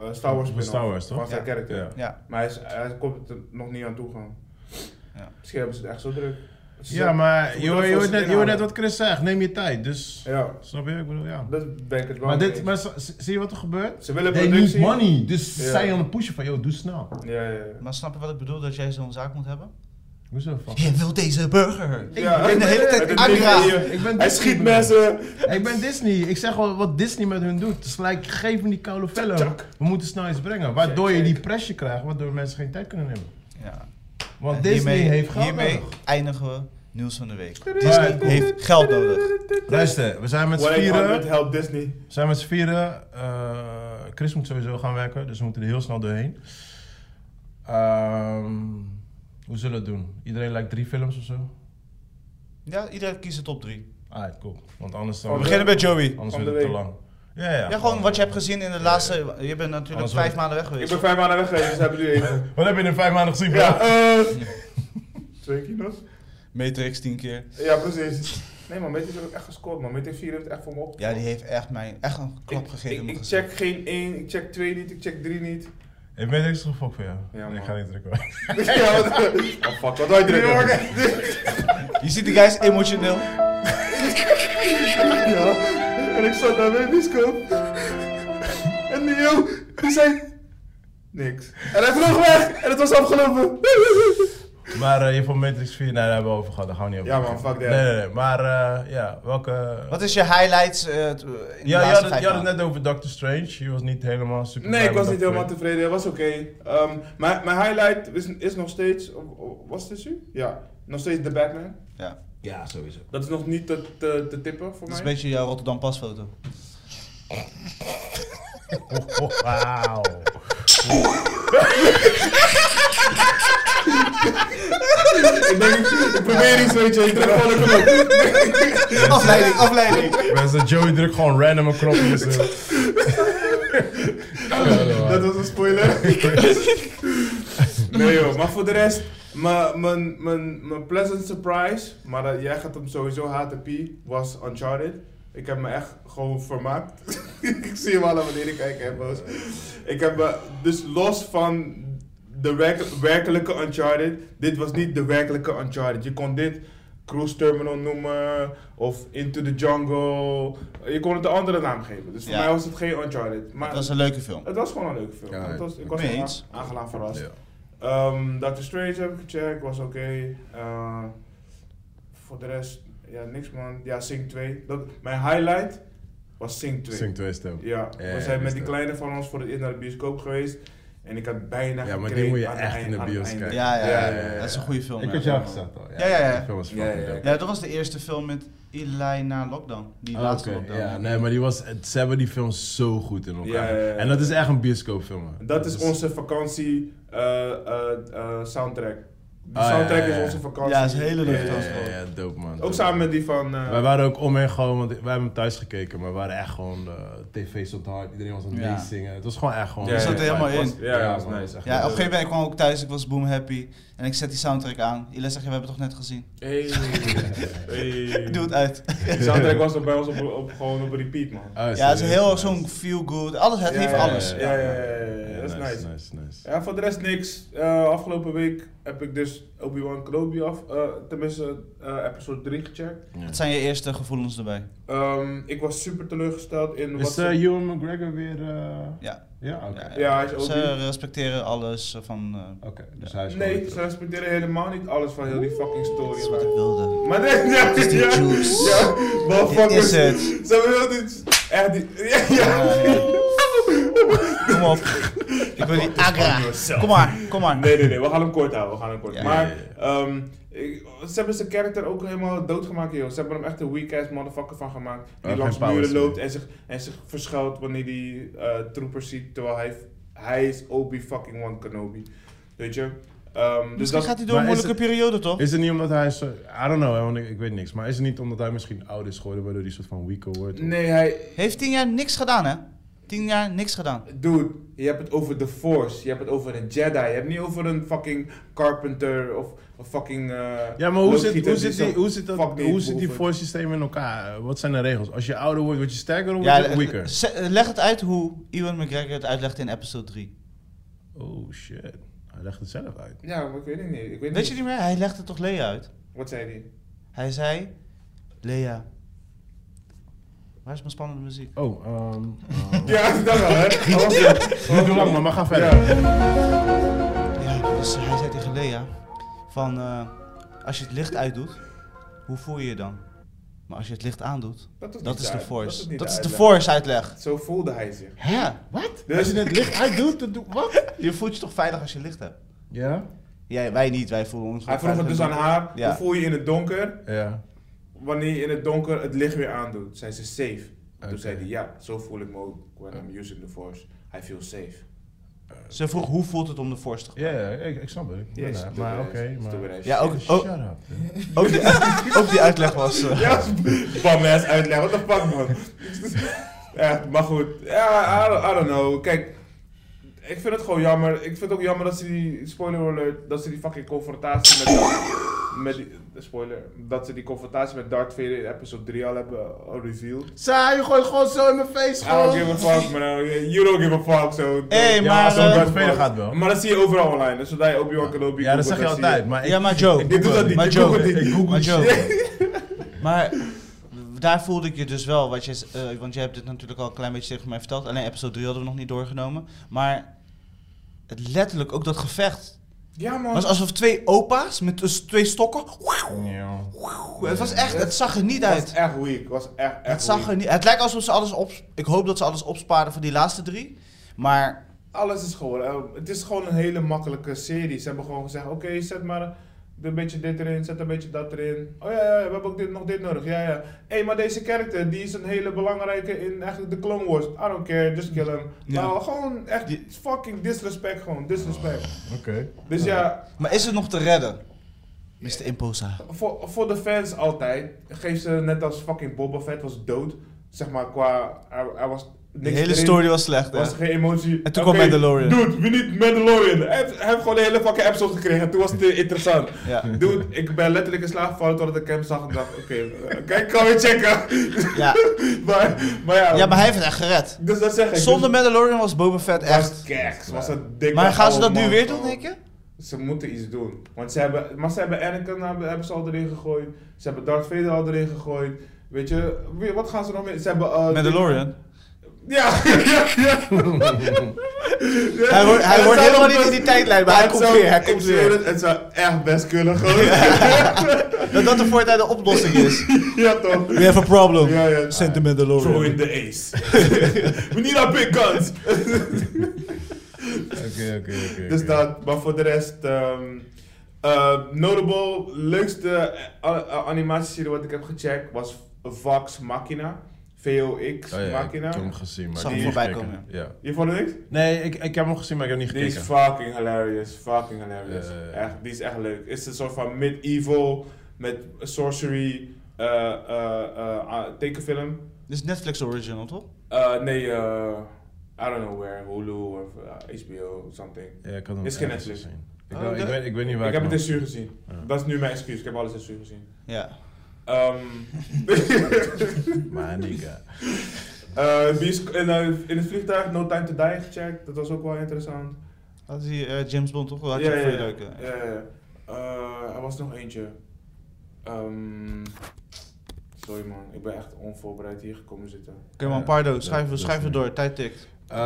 Eh, Star Wars Van spin-off. Star Wars, toch? Van zijn Ja. character. Ja. Ja. Maar hij, is, hij komt er nog niet aan toe gaan. Ja. Misschien hebben ze het echt zo druk. Ze Ja, zijn- maar ze je moeten hoort- je wel hoort voor net- zich je hoort net inhouden. wat Chris zegt. Neem je tijd. Dus. Ja, Snap je? Ik bedoel, ja. dat ben ik het wel Maar mee dit, eens. maar z- z- zie je wat er gebeurt? Ze willen They need productie. money. Dus Ja. zij aan het pushen van, yo, doe snel. Ja, ja, ja. Maar snap je wat ik bedoel dat jij zo'n zaak moet hebben? Hoezo? fuck? Je wil deze burger. Ja. ben de hele tijd Met een Agra. ding hier. Ik ben Disney, Hij schiet bro. mensen. Ik ben Disney. Ik zeg wel wat Disney met hun doet. Het is like, geef me die koude fellow. Tjak. We moeten snel iets brengen. Waardoor je die pressure krijgt, waardoor mensen geen tijd kunnen nemen. Ja. Want En Disney heeft geld Hiermee nodig. eindigen we nieuws van de week. Disney heeft geld nodig. Luister, we zijn met z'n 100 vieren. help Disney. We zijn met z'n vieren. Eh, Chris moet sowieso gaan werken, dus we moeten er heel snel doorheen. Ehm, hoe zullen we het doen? Iedereen lijkt drie films of zo? Ja, iedereen kiest de top 3. Ah, cool. Want anders We dan... We beginnen bij Joey. Anders wordt Van de het te week. lang. Ja, ja. Ja, gewoon wat je hebt gezien in de laatste. Je bent natuurlijk Anders vijf wordt- maanden weg Ik geweest. ben vijf maanden weg geweest, dus hebben jullie even. Wat heb je in vijf maanden gezien, bro? Ja, eh. Twee kilo's? Matrix 10 keer. Ja, precies. Nee man, Meteor heeft ook echt gescoord man. Meteor 4 heeft echt voor me op. Ja, die heeft echt mij echt een klap Ik- gegeven. in Ik, mijn ik gezicht. check geen 1, ik check 2 niet, ik check 3 niet. Ik ben niks gefokt voor jou. Ja, ik man. ga niet drukken. ja, wat, oh fuck, wat wou je drukken? Je ziet die guy is emotioneel. Ja, en ik zat naar mijn bioscoop. En die yo, die zei... Niks. En hij vloog weg en het was afgelopen. Maar eh, je vond Matrix 4, nee, daar hebben we over gehad. Daar gaan we niet over Ja, man, beginnen. fuck that. Nee, nee, nee. Maar eh, ja, welke... Wat is je highlights eh, t- in de Ja, je had, laatste het, vijf je had het maanden? net over Doctor Strange. Je was niet helemaal super Nee, blij ik was met niet Doctor helemaal tevreden. Het was oké. Ehm, mijn, mijn highlight is, is nog steeds. of- of- Was het dus u? Ja. Nog steeds The Batman. Ja. Strange. Ja, sowieso. Dat is nog niet te, te, te tippen voor Dat is een mij. beetje jouw Rotterdam pasfoto. Oh, Wauw. ik, denk, ik probeer iets, weet je. Ik druk gewoon een knop. Afleiding, afleiding. Mensen, Joey drukt gewoon random een knopje. zo. Dat was een spoiler. nee joh, maar voor de rest, mijn- mijn- mijn mijn pleasant surprise, maar dat- jij gaat hem sowieso haten Pie, was Uncharted. Ik heb me echt gewoon vermaakt. ik zie hem al aan beneden kijken, hè, boos. Ik heb me, dus los van de werk- werkelijke Uncharted, dit was niet de werkelijke Uncharted. Je kon dit Cruise Terminal noemen, of Into the Jungle. Je kon het een andere naam geven. Dus voor Ja. mij was het geen Uncharted. Maar Dat was een leuke film. het was gewoon een leuke film. Ja, Het was, ik was mee aange- eens. aangenaam verrast. Ja. Ehm, Doctor Strange heb ik gecheckt, was oké. Eh, voor de rest, ja, niks man. Ja, Sing 2. Dat, mijn highlight was Sing 2. Zing twee stem. Ja, Ja, we zijn is met die dat. kleine van ons voor het eerst naar de bioscoop geweest. En ik had bijna Ja, maar die gekreed moet je aan echt eind- in de aan het bios einde. kijken. Ja, ja, Ja, ja, ja, ja. dat is een goede film. Ik ja. had jou gezet al. Ja, ja, ja. Die film was Ja, fucking ja, ja. dope. Ja, dat was de eerste film met Eli na lockdown. Die Ah, laatste oké. lockdown. Ja, nee, maar die was, het, ze hebben die film zo goed in elkaar. Ja, ja, ja. En dat is echt een bioscoopfilm. hè. Dat is onze vakantie eh, eh, eh, soundtrack. De Ah, ja, soundtrack ja, ja. is onze vakantie. Ja, is een hele Ja, leuke ja, film. ja, ja, dope man. Ook samen met die van... eh, Wij waren ook omheen gewoon, want wij hebben hem thuis gekeken, maar we waren echt gewoon eh, tv's op de hart. Iedereen was aan het Ja. meezingen. Het was gewoon echt gewoon. Ja, ja, zat ja. helemaal in. Ja, dat was man, Oh, nice. echt Ja, op een dope. gegeven moment kwam ik ook thuis, ik was boom happy. En ik zet die soundtrack aan. Ile zegt, ja, we hebben het toch net gezien. Hey. hey. Ik doe het uit. Die soundtrack was er bij ons op, op, gewoon op repeat, man. Oh, Ja, het is serieus, heel erg nice. zo'n feel good. Alles, het Ja, heeft ja, alles. ja, ja, ja, ja, dat is nice. nice, nice. Ja, voor de rest niks. Eh, afgelopen week heb ik dus Obi-Wan Kenobi af, eh, tenminste eh, episode 3 gecheckt. Ja. Wat zijn je eerste gevoelens erbij? Ehm, ik was super teleurgesteld in wat Is ze- eh, Ewan McGregor weer... eh, Ja. Ja, oké. Ja, Ja, hij is Ze Obi- respecteren alles van eh, Oké, dus hij is gewoon Nee, weer ze terug. respecteren helemaal niet alles van heel die fucking story. wat man. ik wilde. Maar nee, ja, Het is die ja, juice. ja, wat Dit is het. Oh. Ze hebben heel die, echt die, ja, ja. Kom op. Ik wil die agra. Kom maar, kom maar. Nee, nee, nee, we gaan hem kort houden. We gaan hem kort. Ja, maar ja, ehm, ik- ze hebben zijn karakter ook helemaal doodgemaakt, joh. Ze hebben hem echt een weak-ass motherfucker van gemaakt. Die geen langs powers muren meer. loopt en zich, en zich verschuilt wanneer die eh troepers ziet. Terwijl hij, hij is Obi-fucking-Wan Kenobi. Weet je? Ehm, dus Misschien dat, gaat hij door een Maar is moeilijke periode, toch? Is het niet omdat hij... Zo, I don't know, hè, want ik, ik weet niks. Maar is het niet omdat hij misschien oud is geworden, waardoor hij soort van weaker wordt? Of- Nee, hij... Heeft tien jaar niks gedaan, hè? Tien jaar niks gedaan. Dude, je hebt het over de Force. Je hebt het over een Jedi. Je hebt niet over een fucking Carpenter of een fucking... eh, Ja, maar hoe zit, loodgieter hoe, zit zo- die, hoe, zit dat, fuck hoe zit die behoefte. force systeem in elkaar? Wat zijn de regels? Als je ouder wordt, word je sterker of Ja, word je weaker? ze- leg het uit hoe Ewan McGregor het uitlegde in episode 3. Oh shit. Hij legt het zelf uit. Ja, maar ik weet het niet. Ik weet, Weet je niet meer? Hij legde toch Lea uit? Wat zei hij? Hij zei, Lea, waar is mijn spannende muziek? Oh, ehm. Ja, dat wel, hè? Niet te lang, maar, maar ga verder. Ja, dus hij zei tegen Lea, van eh, als je het licht uitdoet, hoe voel je je dan? Maar als je het licht aandoet, Dat is dat niet is de de uit- dat is force. niet Dat de is de uitleg. force uitleg. Zo voelde hij zich. Hè? Wat? Als je het licht uitdoet, dan doe wat? Je voelt je toch veilig als je licht hebt? Ja? Jij, wij niet, wij voelen ons wel Hij vroeg het veilig. dus aan haar, Ja. hoe voel je je in het donker Ja. wanneer je in het donker het licht weer aandoet? Zijn ze safe? Oké. Toen zei hij, ja, zo voel ik me ook when I'm using the force. I feel safe. Ze vroeg hoe voelt het om de force te Ja, ja, ik, ik snap het. Ik ben Yes, daar. doe maar weer oké, eens, doe weer maar... eens. Ja, ook, Shut ook, up. ook, die, ook die uitleg was... eh, Ja, bam ass uitleg, what the fuck man. ja, maar goed, ja, I don't, I don't know. Kijk, ik vind het gewoon jammer. Ik vind het ook jammer dat ze die, spoiler alert, dat ze die fucking confrontatie met... met die, spoiler, dat ze die confrontatie met Darth Vader in episode 3 al hebben eh, revealed. Zij, je gooit gewoon zo in mijn face, I don't give gewoon. a fuck, man. You don't give a fuck, so... hey, Ja, maar... als het om eh, Darth Vader gaat wel. Maar dat zie je overal online, dus zodra je Obi-Wan Kenobi Ja, dat googelt, zeg je dan zie altijd, maar ik... ja, maar Joe. Ik doe dat niet, Maar ik Joe. google dit. Ik google maar die Joe. shit. Maar daar voelde ik je dus wel, wat je, z- eh, want jij hebt dit natuurlijk al een klein beetje tegen mij verteld. Alleen episode 3 hadden we nog niet doorgenomen. Maar het letterlijk ook dat gevecht. Ja, man. Het was alsof twee opa's met dus twee stokken. Ja. Het was echt, het zag er niet Het was uit. echt weak. Was echt, echt Het zag weak. er niet. Het lijkt alsof ze alles op. Ik hoop dat ze alles opsparen voor die laatste drie. Maar Alles is gewoon, eh, het is gewoon een hele makkelijke serie. Ze hebben gewoon gezegd, oké, zet maar een beetje dit erin, zet een beetje dat erin. Oh ja, ja, ja, we hebben ook dit, nog dit nodig, ja, ja. Hé, maar deze character, die is een hele belangrijke in eigenlijk de Clone Wars. I don't care, just kill him. Ja. Nou, gewoon echt Die- Oh. fucking disrespect gewoon, disrespect. Oké. Dus ja, Maar is het nog te redden? Mr. Imposa. voor, voor de fans altijd, geef ze net als fucking Boba Fett was dood. Zeg maar, qua, er, er was niks De hele erin. story was slecht, Er was hè? geen emotie. En toen kwam Oké, Mandalorian. Dude, wie niet Mandalorian? Hij heeft- hij heeft gewoon de hele fucking episode gekregen. Toen was het eh, interessant. Ja. Dude, ik ben letterlijk in slaap gevallen totdat ik hem zag en dacht, oké, eh, kijk, ik kan weer checken. Ja. maar, maar ja. ja, maar hij heeft het echt gered. Dus dat zeg ik. Zonder dus, Mandalorian was Boba Fett was echt. keks, was een dikke Maar gaan ze oude dat nu man, weer doen, gewoon. denk je? Ze moeten iets doen. Want ze hebben, maar ze hebben Anakin hebben, hebben ze al erin gegooid. Ze hebben Darth Vader al erin gegooid. Weet je, wie- wat gaan ze nog meer? Ze hebben... eh, Ja, ja, ja. Hij wordt- hij Het wordt zou helemaal nog niet in die tijdlijn, maar hij het komt zou- weer, hij komt ik zweer weer. Het, het zou echt best kunnen, gewoon. Dat dat de voortijd de oplossing is. ja, toch? We have a problem. Ja, ja. Send the Mandalorian. Throw in the ace. We need our big guns. Oké, oké, oké. Dus oké. dat, maar voor de rest... ehm eh, notable, leukste eh, a- a- animatieserie wat ik heb gecheckt was Vox Machina. VOX Oh ja, ik Machina. heb hem gezien, maar Zag ik hem heb niet voorbij gekeken. Ja. Je vond het niks? Nee, ik, ik heb hem gezien, maar ik heb niet Die is gekeken. fucking hilarious, fucking hilarious. Eh, Ja, ja, ja. Echt, die is echt leuk. Het is een soort van medieval met sorcery eh, eh, eh, ah, tekenfilm. Dit is Netflix original, toch? Eh, nee, eh, I don't know where, Hulu of eh, HBO of something. Ja, ik had hem Is geen ergens Netflix. gezien. Ik, Oh, wou- ik, dat- weet, ik weet niet waar Ik ik, heb hem het had. in zuur gezien. Ja. Dat is nu mijn excuus, ik heb alles in zuur gezien. Ja. Ehm Maar Nika. eh, die is in, eh, in het vliegtuig No Time To Die gecheckt, dat was ook wel interessant. Dat is die eh, James Bond, toch? Had je Ja, voor ja, je ja. leuk, hè? Ja, ja, ja. Eh, er was nog eentje. Ehm, sorry man, ik ben echt onvoorbereid hier gekomen zitten. Oké, man, Ja, Pardo, dat- schrijf, dat is schrijf het niet. door. Tijd tikt. Eh,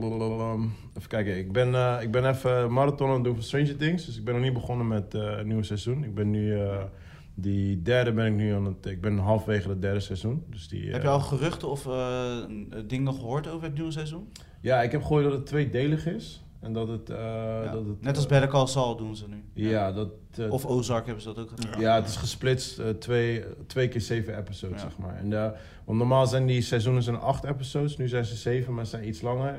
lalalam. even kijken, ik ben, eh, ik ben even marathon aan het doen van Stranger Things. Dus ik ben nog niet begonnen met eh het nieuwe seizoen. Ik ben nu, eh, die derde ben ik nu aan het, ik ben halfwege het derde seizoen. Dus die, eh, Heb je al geruchten of eh, dingen gehoord over het nieuwe seizoen? Ja, ik heb gehoord dat het tweedelig is. En dat het, eh, dat het eh, Net als Better Call Saul doen ze nu. Ja, dat... eh, Of Ozark hebben ze dat ook gedaan. Ja, het is gesplitst eh, twee, twee keer zeven episodes, Ja. zeg maar. En, eh, want normaal zijn die seizoenen zijn acht episodes, nu zijn ze zeven, maar ze zijn iets langer.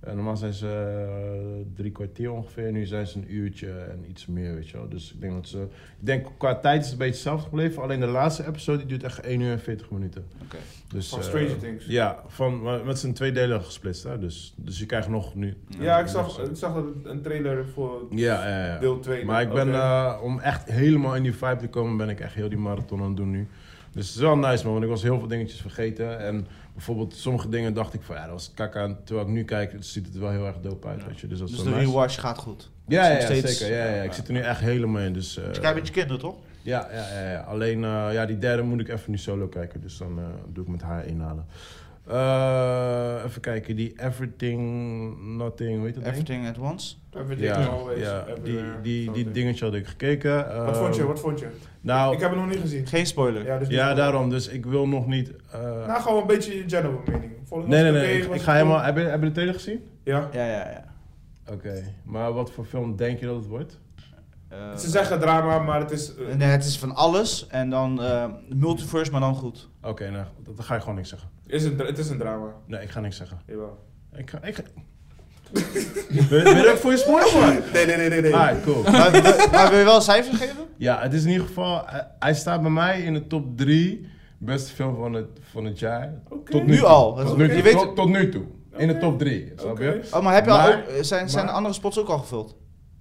Eh, normaal zijn ze eh, drie kwartier ongeveer, nu zijn ze een uurtje en iets meer, weet je wel. Dus ik denk dat ze... Ik denk qua tijd is het een beetje hetzelfde gebleven, alleen de laatste episode die duurt echt 1 uur en 40 minuten. Oké. Dus, Van eh, Stranger Things. Ja, van, maar met zijn twee delen gesplitst, hè. Dus, dus je krijgt nog nu... Ja, ik zag, ik zag dat het een trailer voor Ja, ja, ja. deel 2. Maar ik ben, eh, om echt helemaal in die vibe te komen, ben ik echt heel die marathon aan het doen nu. Dus het is wel nice man, want ik was heel veel dingetjes vergeten. En bijvoorbeeld sommige dingen dacht ik van, ja, dat was kak aan. Terwijl ik nu kijk, het ziet het wel heel erg dope uit, Ja. weet je. Dus dat is Dus wel de nice. rewatch gaat goed. Ja, ja, Nog ja, steeds- zeker. Ja, ja, ik zit er nu echt helemaal in. Dus, eh, Dus kijk met je kinderen, toch? ja, ja, ja, ja. Alleen eh, ja, die derde moet ik even nu solo kijken. Dus dan eh, doe ik met haar inhalen. Eh, even kijken, die Everything Nothing, hoe heet dat ding? Everything at once. Everything Ja, always, ja die, everywhere, die, die something. dingetje had ik gekeken. Wat eh, vond je, wat vond je? Nou, Ik heb het nog niet gezien. Geen spoiler. Ja, dus Ja, niet- daarom. Dus ik wil nog niet. eh, Nou, gewoon een beetje je general mening. Volgens nee, mij nee, was het nee. oké, Ik, was ik ga het helemaal. goed. Heb je, heb je de trailer gezien? Ja. Ja, ja, ja. Oké. Maar wat voor film denk je dat het wordt? Eh, Ze zeggen drama, maar het is... eh, Nee, het is van alles en dan eh, multiverse, maar dan goed. Oké, nou, dat, dat ga ik gewoon niks zeggen. is een, dra- het is een drama. Nee, ik ga niks zeggen. Jawel. Ik ga. Ik ga... ben, ben je ook voor je spoiler voor? Nee, nee, nee, nee. nee. Ah, cool. maar, maar wil je wel cijfers geven? Ja, het is in ieder geval. hij- hij staat bij mij in de top 3 beste film van het, van het jaar. Oké. Tot nu, Nu toe. al? Tot Dat- nu, je toe. weet- tot, tot nu toe. In de Oké. top 3. Snap je? Oké. Oh, maar heb je al Maar- ook, eh, zijn, zijn de maar- andere spots ook al gevuld?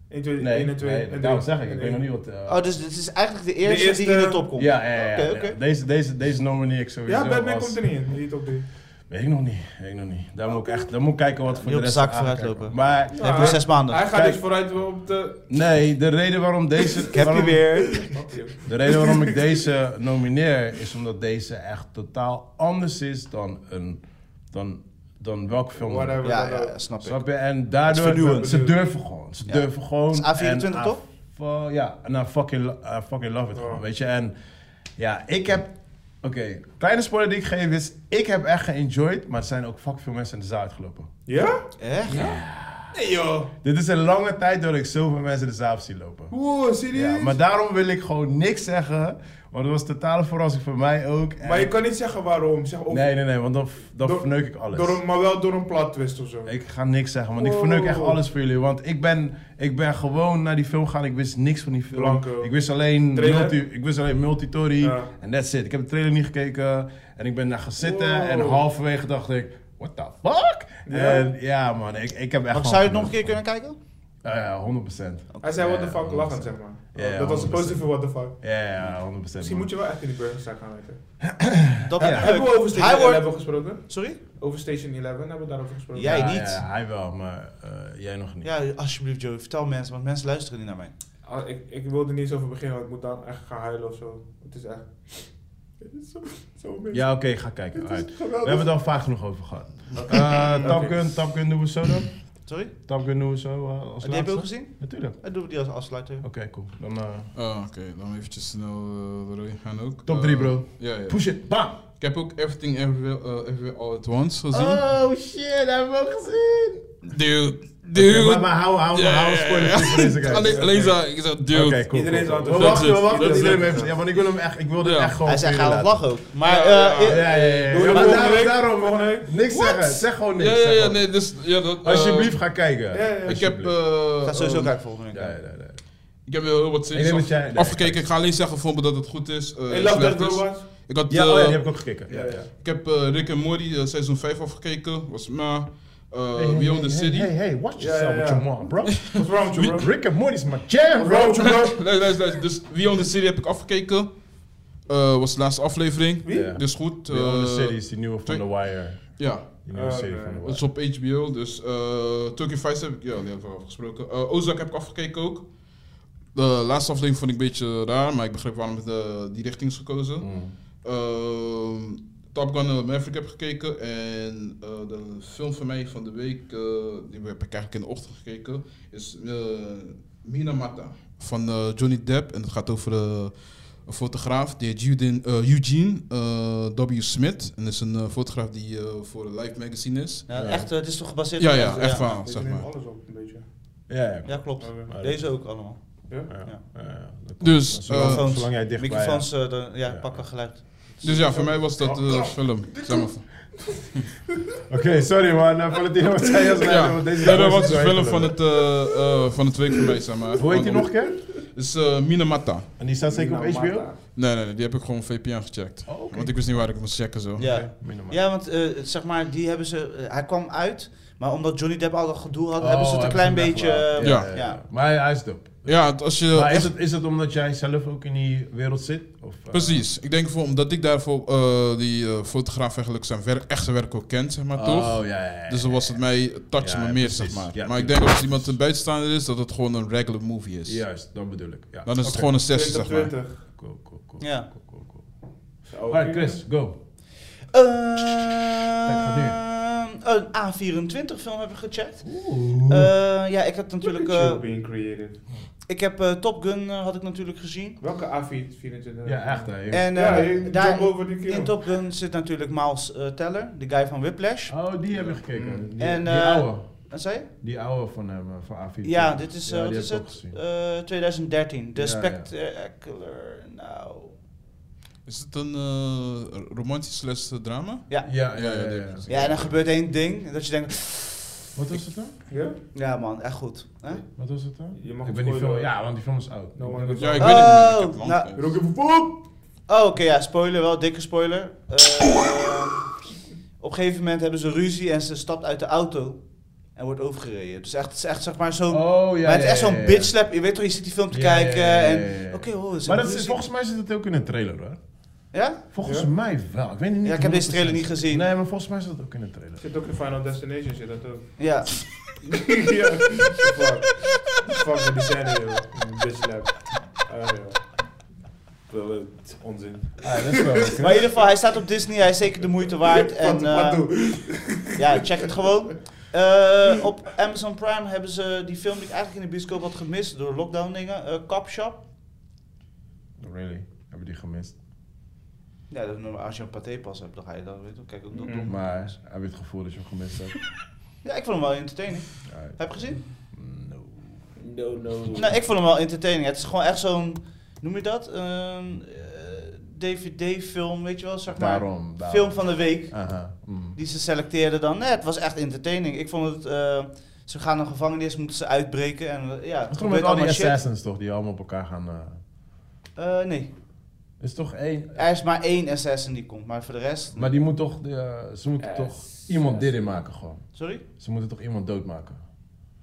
1, 2, Nee, 1 en 2. nee, daarom zeg ik. Ik weet nog niet wat. eh, Oh, dus dit is eigenlijk de eerste, die in eerste- de top komt? Ja, ja, ja. Oké, ja. oké. Deze, deze, deze nomineer ik sowieso. Ja, Batman als- komt er niet in. Niet op die. Weet ik nog niet, weet ik nog niet. Daar moet ik echt, daar moet ik kijken wat voor Niet de op de rest zak aankijken. vooruitlopen. Maar Dan hebben we zes maanden. Hij gaat Kijk. dus vooruit op de... nee, de reden waarom deze, Ik heb je waarom- weer. de reden waarom ik deze nomineer is omdat deze echt totaal anders is dan een, dan dan welke film dan ook. Whatever. Ja, ja, ja, snap ik. Snap je? En Het is daardoor, vernieuwend. ze durven gewoon. Ze Ja. durven gewoon. Is A24 en I toch? fu- ja, en I fucking, lo- I fucking love it gewoon, weet je. En ja, ik heb... Oké, kleine spoiler die ik geef is... Ik heb echt geënjoyed, maar er zijn ook fucking veel mensen in de zaal uitgelopen. Ja? Echt? Nee joh. Dit is een lange tijd dat ik zoveel mensen de zaal heb zien lopen. Wow, serieus? Ja, maar daarom wil ik gewoon niks zeggen. Want het was totale verrassing voor mij ook. En- Maar je kan niet zeggen waarom. Zeg, of- Nee, nee, nee, want dan, f- dan Door- verneuk ik alles. door een- maar wel door een plot twist of zo. Ik ga niks zeggen, want ik verneuk echt Wow. alles voor jullie. Want ik ben, ik ben gewoon naar die film gegaan. Ik wist niks van die film. Blanco. Ik wist alleen, Trailer? multi, ik wist alleen Multitory. Ja. En that's it. Ik heb de trailer niet gekeken. En ik ben daar gaan zitten. Wow. En halverwege dacht ik, what the fuck? Ja. En ja man, ik, ik heb echt... Maar gewoon zou je het nog een keer genoten. kunnen kijken? Eh, 100%. Hij zei what the Ja, fuck lachend, 100%. zeg maar. Ja, ja, dat was een 100%. positieve what the fuck. Ja, ja, 100%. Misschien man. moet je wel echt in die burgerzaak gaan werken. Dat Ja. bedoel ik. Hebben we over Station Hij 11 wordt- gesproken? Sorry? Over Station 11 hebben we daarover gesproken? Jij Ja, niet. ja, hij wel, maar eh, jij nog niet. Ja, alsjeblieft Joey, vertel mensen, want mensen luisteren niet naar mij. Ah, ik, ik wilde niet eens over beginnen, want ik moet dan echt gaan huilen of zo. Het is echt... Het is zo, zo mis. Ja, oké, ga kijken. Alright. geweldig. We hebben het al vaak genoeg over gehad. Eh Tapgun, Tapgun doen we zo dan. Sorry? Tapgun doen we zo eh, als Die heb je ook laatste. Oh, gezien? Natuurlijk. Dan doen we die als afsluiter. Oké, cool. Dan eh, Ah, Oké, dan eventjes snel eh, doorheen gaan ook. Top Eh, drie, bro. Ja, ja. push it, bam! Ik heb ook Everything Everywhere, eh, Everywhere All At Once gezien. Oh shit, dat hebben we ook gezien! Dude, dude. Dude. maar, maar hou, hou, Ja, hou, ja, spoilers ja. niet voor deze guy. Alleen, alleen zei- ik zei, dude. Oké, cool. Iedereen is cool, cool. altijd- We wachten, we Dat is wachten het. tot iedereen Dat is heeft... het. Ja, want ik wil hem echt, ik wil dit Ja. echt gewoon... Hij zei, vielen ga het laten. lachen ook. Maar, eh ja, ja. eh, Ja, ja, ja. Doe ja. je Maar volgende daarom, week? daarom, Volgende week? niks zeggen. Zeg gewoon niks. Ja, zeg ja, ja, gewoon nee, dus... Ja, dat, eh, Alsjeblieft, ga kijken. Ja, ja, ja. Ik heb... eh, ga sowieso ehm, kijken volgende week. Ja, ja, ja, ja. Ik heb heel wat Ik series denk af- dat jij- nee, afgekeken. kijk. Ik ga alleen zeggen voor me dat het goed is. eh, Hey, Love Death slecht is. Robots. Ik had... Ja, oh ja, eh, die heb ik ook gekeken. Ja, ja. Ik heb eh, Rick en Morty eh, seizoen 5 afgekeken. Was ma. eh Hey, hey, Beyond hey, the City. Hey, hey, watch Ja, yourself ja, with ja. your mom, bro. What's wrong with you, bro? Rick and Morty's my jam, bro. What's wrong with you, bro? Luister, luister, luister. Dus Beyond the City heb ik afgekeken. Eh, was de laatste aflevering. Wie? Ja. Dus goed. eh, Beyond the City is die nieuwe van twee- The Wire. Ja, Die nieuwe Oh, serie nee. van The dat is Wire. op HBO. Dus eh Turkey Fights heb ik. Ja, die hebben we afgesproken. Eh Ozark heb ik afgekeken ook. De laatste aflevering vond ik een beetje raar, maar ik begreep waarom het, eh, die richting is gekozen. Mm. Ehm, Top Gun eh, Maverick heb gekeken en eh, de film van mij van de week, eh, die heb ik eigenlijk in de ochtend gekeken, is eh, Minamata van eh, Johnny Depp. En het gaat over eh, een fotograaf, die heet Eugene, eh, Eugene eh, W. Smith. En dat is een eh, fotograaf die eh, voor Life Magazine is. Ja, echt, eh, het is toch gebaseerd Ja, op- ja, echt waar, zeg Ik neem maar. alles op, een beetje. Ja, ja. Ja, klopt. Oké. Deze ook allemaal. Ja? Ja, ja, ja. Dus, zolang, eh, zolang jij dichtbij... Microfoons, eh, dan- ja, Ja. pakken geluid. Dus ja, voor mij was dat eh, film. Zeg maar. Oké, sorry man. Uh, Valentino, wat zei je als Ja, want deze nee, dat jongens was is de zo film heet van het, eh, eh, van het week voor mij, zeg maar. Hoe heet die nog een keer? is eh, Minamata. En die staat zeker op Nou, HBO? maar- Nee, nee, nee, die heb ik gewoon VPN gecheckt. Oh, oké. Want ik wist niet waar ik moest checken zo. Ja. Minimaal. Ja, want eh, zeg maar, die hebben ze, eh, hij kwam uit, maar omdat Johnny Depp al dat gedoe had, Oh, hebben ze het een klein ze hem beetje... weggelaten. eh, Ja. ja, ja. ja. Maar hij- hij is dope. Ja, het- als je. Maar is echt- het, is het omdat jij zelf ook in die wereld zit? Of, eh, Precies. Ik denk voor, omdat ik daarvoor eh, die eh, fotograaf eigenlijk zijn werk, echte werk ook kent, zeg maar toch. Oh, ja, ja, ja. Dus dan was het mij touch Ja, me meer, precies. zeg maar. Ja, maar tuurlijk. ik denk dat als iemand een buitenstaander is, dat het gewoon een regular movie is. Juist, dan bedoel ik. Ja. Dan is het Oké. gewoon een sessie, zeg maar. 2020. Cool, cool, cool. Ja. cool, cool, cool. Zo, Alright, Chris, go. eh, gaat Ehm, een A24 film heb ik gecheckt. Eh, ja, ik had Look natuurlijk... at you eh, being creative. ik heb eh, Top Gun eh, had ik natuurlijk gezien. Welke A24? Ja, echt hè. jongen. En Ja, eh, je- daar, jump over die in kill. Top Gun zit natuurlijk Miles eh, Teller, de guy van Whiplash. Oh, die hebben we gekeken. Die, En, die eh, oude. Wat zei je? Die oude van hem, eh, van A4. Ja, dit is, eh, Ja, wat die is heb ik het? ook gezien. Eh, 2013. The Ja, ja. Spectacular. Nou. Is het een eh, romantisch les drama? Ja. ja. Ja, ja, ja. Ja, ja. ja. en dan gebeurt één ding. Dat je denkt, Wat was het dan? Ja? ja man, echt goed. Hè? Wat was het dan? Je mag ik het ben die spoilen. Nou, film, ja, want die film is oud. No one knows. Ja, ik Oh, weet het niet. Ik heb lang nou, gekeken. Rook even poep! Oh, oké, ja, spoiler wel, dikke spoiler. Eh, op een gegeven moment hebben ze ruzie en ze stapt uit de auto en wordt overgereden. Dus echt, het is echt zeg maar zo'n. Oh, ja. maar het is ja, echt zo'n ja, ja. bitch slap. Je weet toch, je zit die film te Ja, ja, ja, kijken ja, ja, en. ja, ja. Oké, hoor. ze Maar dat hebben is, ruzie. volgens mij zit het ook in een trailer hoor. Ja? Volgens Ja? mij wel. Ik weet het niet. Ja, ik heb deze 100%. trailer niet gezien. Nee, maar volgens mij zit het ook in een trailer. Zit ook in Final Destination, zit dat ook. Ja. ja, fuck. Fuck met die scène, joh. Bitch lap. Ah, ja. Wel, eh, het is onzin. Ah, dat is wel. Maar in ieder geval, hij staat op Disney, hij is zeker de moeite waard. En, Wat- wat eh, doe? Ja, check het gewoon. Eh, op Amazon Prime hebben ze die film die ik eigenlijk in de bioscoop had gemist door lockdown dingen. eh Cop Shop. Really? Hebben die gemist? Ja, dat- als je een paté pas hebt, dan ga je dat weten. Kijk, ook dat Mm. Maar heb je het gevoel dat je hem gemist hebt? Ja, ik vond hem wel entertaining. Alright. Heb je gezien? No. No, no. Nou, ik vond hem wel entertaining. Het is gewoon echt zo'n, noem je dat? Een eh, DVD-film, weet je wel, zeg maar. Daarom, daarom. Film van de week. Aha. mm. Die ze selecteerden dan. Nee, het was echt entertaining. Ik vond het. eh, ze gaan een gevangenis, moeten ze uitbreken. En eh, ja, Gewoon het gebeurt met al die allemaal shit. assassins toch, die allemaal op elkaar gaan... eh, Eh, nee, is toch één... er is maar één assassin die komt, maar voor de rest. Maar die moet toch... eh, ze moeten Yes. toch iemand dit in maken gewoon. Sorry? Ze moeten toch iemand doodmaken?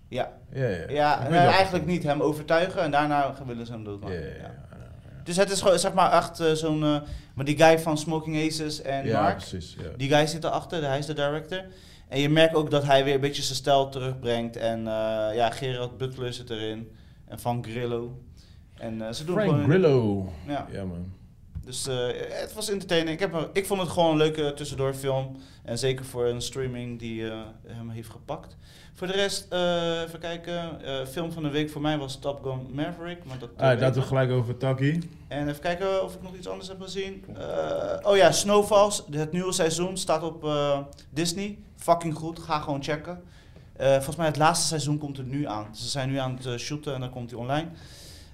Ja, Ja, ja. ja Ik weet nou, dat. eigenlijk niet. Hem overtuigen en daarna willen ze hem Ja, doodmaken. ja, ja. Ja. ja. Dus het is gewoon, zeg maar, echt eh, zo'n. eh, maar die guy van Smoking Aces en Ja, Mark, precies. Ja. die guy zit erachter, hij is de director. En je merkt ook dat hij weer een beetje zijn stijl terugbrengt. En eh, ja, Gerard Butler zit erin. En Van Grillo. En eh, ze doen Frank gewoon. Grillo. Ja. Ja, man. Dus eh, het was entertaining. Ik, heb, me- ik vond het gewoon een leuke tussendoor film. En zeker voor een streaming die eh, hem heeft gepakt. Voor de rest, eh, even kijken. Eh, film van de week voor mij was Top Gun Maverick. Maar dat, Alright, eh, weet laten Ah, we ik. gelijk over Taki. En even kijken of ik nog iets anders heb gezien. Eh, oh ja, Snowfalls. Het nieuwe seizoen staat op eh, Disney. Fucking goed. Ga gewoon checken. Eh, volgens mij het laatste seizoen komt er nu aan. Ze zijn nu aan het eh, shooten en dan komt hij online.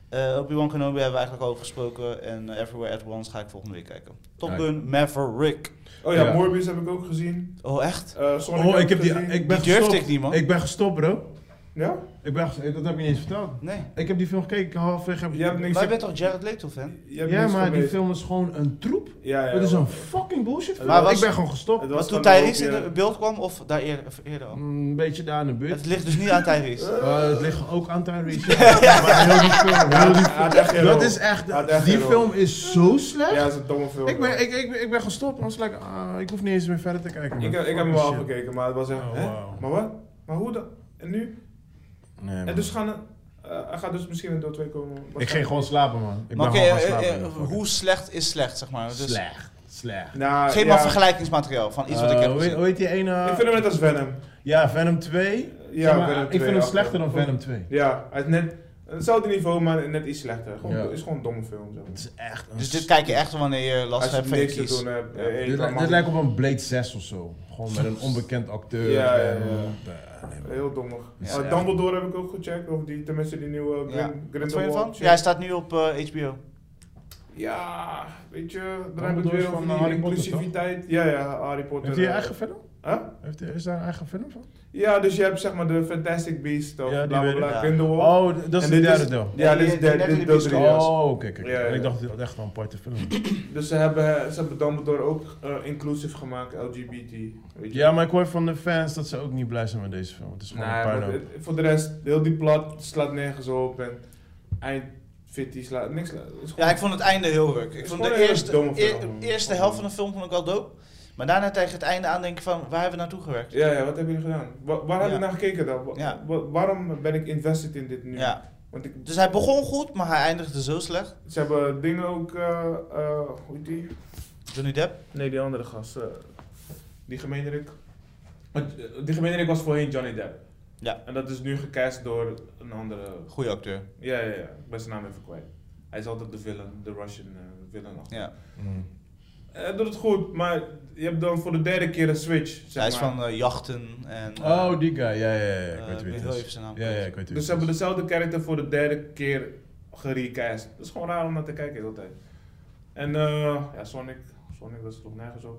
Eh Obi-Wan Kenobi hebben we eigenlijk al over gesproken. En eh, Everywhere at Once ga ik volgende week kijken. Top Kijk. Gun Maverick. Oh ja, Ja. Morbius heb ik ook gezien. Oh echt? Eh, Sonic Oh, heb ik heb die... gezien. Ik ben Die durfde gestopt. ik niet man. Ik ben gestopt, bro. Ja? Ik ben gestopt. Dat heb je niet eens verteld. nee. Ik heb die film gekeken, halfweg heb ik... Je hebt niks... Wij bent toch Jared Leto fan? je hebt ja, niks maar die gemeten. film is gewoon een troep. Ja, ja. Het is een fucking bullshit film. Maar was- ik ben gewoon gestopt. Het Maar was toen gewoon Tyrese ook, in ja. het beeld kwam of daar eerder, of eerder al? Mm, Een beetje daar in de buurt. Het ligt dus niet aan Tyrese. Eh, het ligt ook aan Tyrese. Ja, maar heel die film, heel die Hij had echt geen film. Dat rol. is echt... Had echt die geen film is zo slecht. Ja, dat is een domme film. ik, ben, ik, ik, ik ben gestopt, want like, ah, ik hoef niet eens meer verder te kijken. Ik, man. heb- ik heb Fucking hem wel Oh, shit. afgekeken, maar het was echt. Oh, hè? wauw. Maar wat? Maar hoe dan? En nu? Nee, man. En dus gaan. eh, hij gaat dus misschien een deel 2 komen. ik waarschijnlijk. ging gewoon slapen, man. Ik Maar ben oké, gewoon gaan eh, slapen. eh, joh. Fuck hoe slecht is slecht, zeg maar? it. Dus Slecht. Slecht. Nou, Geef ja, maar vergelijkingsmateriaal van iets wat ik Eh, heb hoe heet- gezien. Hoe heet die ene... Ik vind hem net als Venom. Ja, Venom 2. Ja, Zeg maar, Venom ik 2, vind hem ja. slechter dan Venom 2. Ja, hij is net. Hetzelfde niveau, maar net iets slechter. Gewoon, Ja. Het is gewoon een domme film. Zeg maar. Het is echt een Dus dit kijk je echt wanneer je last Als je hebt van je niks te kies. doen hebt. Ja, eh, eh, dit, kan li- man- dit lijkt op een Blade 6 of zo. Gewoon met een onbekend acteur. Ja, ja, en- ja. Eh, nee, man. Heel dommig. Ja. Eh, Dumbledore heb ik ook gecheckt. Of die, tenminste die nieuwe Grin- Ja. Wat vond je Grindelwald ervan? shit. Ja, hij staat nu op eh, HBO. Ja, weet je, daar heb ik Dumbledore is weer van eh, over die Harry Potter, toch? inclusiviteit. Ja, ja, Harry Potter. Heeft hij een eh, eigen film? Huh? Heeft hij, is daar een eigen film van? Ja, dus je hebt zeg maar de Fantastic Beasts of Ja, die bla bla weet bla, ik. Grindelwald. Oh, d- dat is En de dit derde is- deel. Ja, die- dit is die de, net in de dit deel drie, ja. Oh, oké, oké. oké. Ja, ja. Ik dacht dat het echt wel een aparte film was. Dus ze hebben, ze hebben Dumbledore ook eh, inclusief gemaakt, LGBT. Weet je. Ja, maar ik hoor van de fans dat ze ook niet blij zijn met deze film. Het is Nee, gewoon een maar puinhoop. Nou, het- voor de rest, heel die plat slaat nergens op en eind fitty slaat niks. sla- is Ja, gewoon- ik vond het einde heel ruk. Ik is vond gewoon de een hele eerste, domme eer- film. eerste helft van de film vond ik wel dope. Maar daarna tegen het einde aan denk ik van, waar hebben we naartoe gewerkt? ja, ja, wat hebben jullie gedaan? Wa- waar heb Ja. ik naar gekeken dan? Wa- Ja. wa- waarom ben ik invested in dit nu? Ja. Want ik, Dus hij begon goed, maar hij eindigde zo slecht. ze hebben dingen ook, eh, eh, hoe heet die? Johnny Depp. Nee, die andere gast. eh, die gemeenerik. Want, eh, Die gemeenerik was voorheen Johnny Depp. Ja. En dat is nu gecast door een andere. Goeie acteur. Ja, ja, ja. Ik ben zijn naam even kwijt. Hij is altijd de villain, de Russian eh, villain. nog. Ja. Mm. Hij doet het Eh, goed, maar je hebt dan voor de derde keer een switch. Zeg Hij is maar. van eh, jachten en... eh, Oh, die guy. Ja, ja, ja. Ik eh, weet wie ik het wil is. even zijn naam Ja, ja, kwijt. ik weet wie Dus ze het hebben is. dezelfde character voor de derde keer gerecast. Dat is gewoon raar om naar te kijken altijd. En eh, ja, Sonic. Sonic, dat is nog nergens op.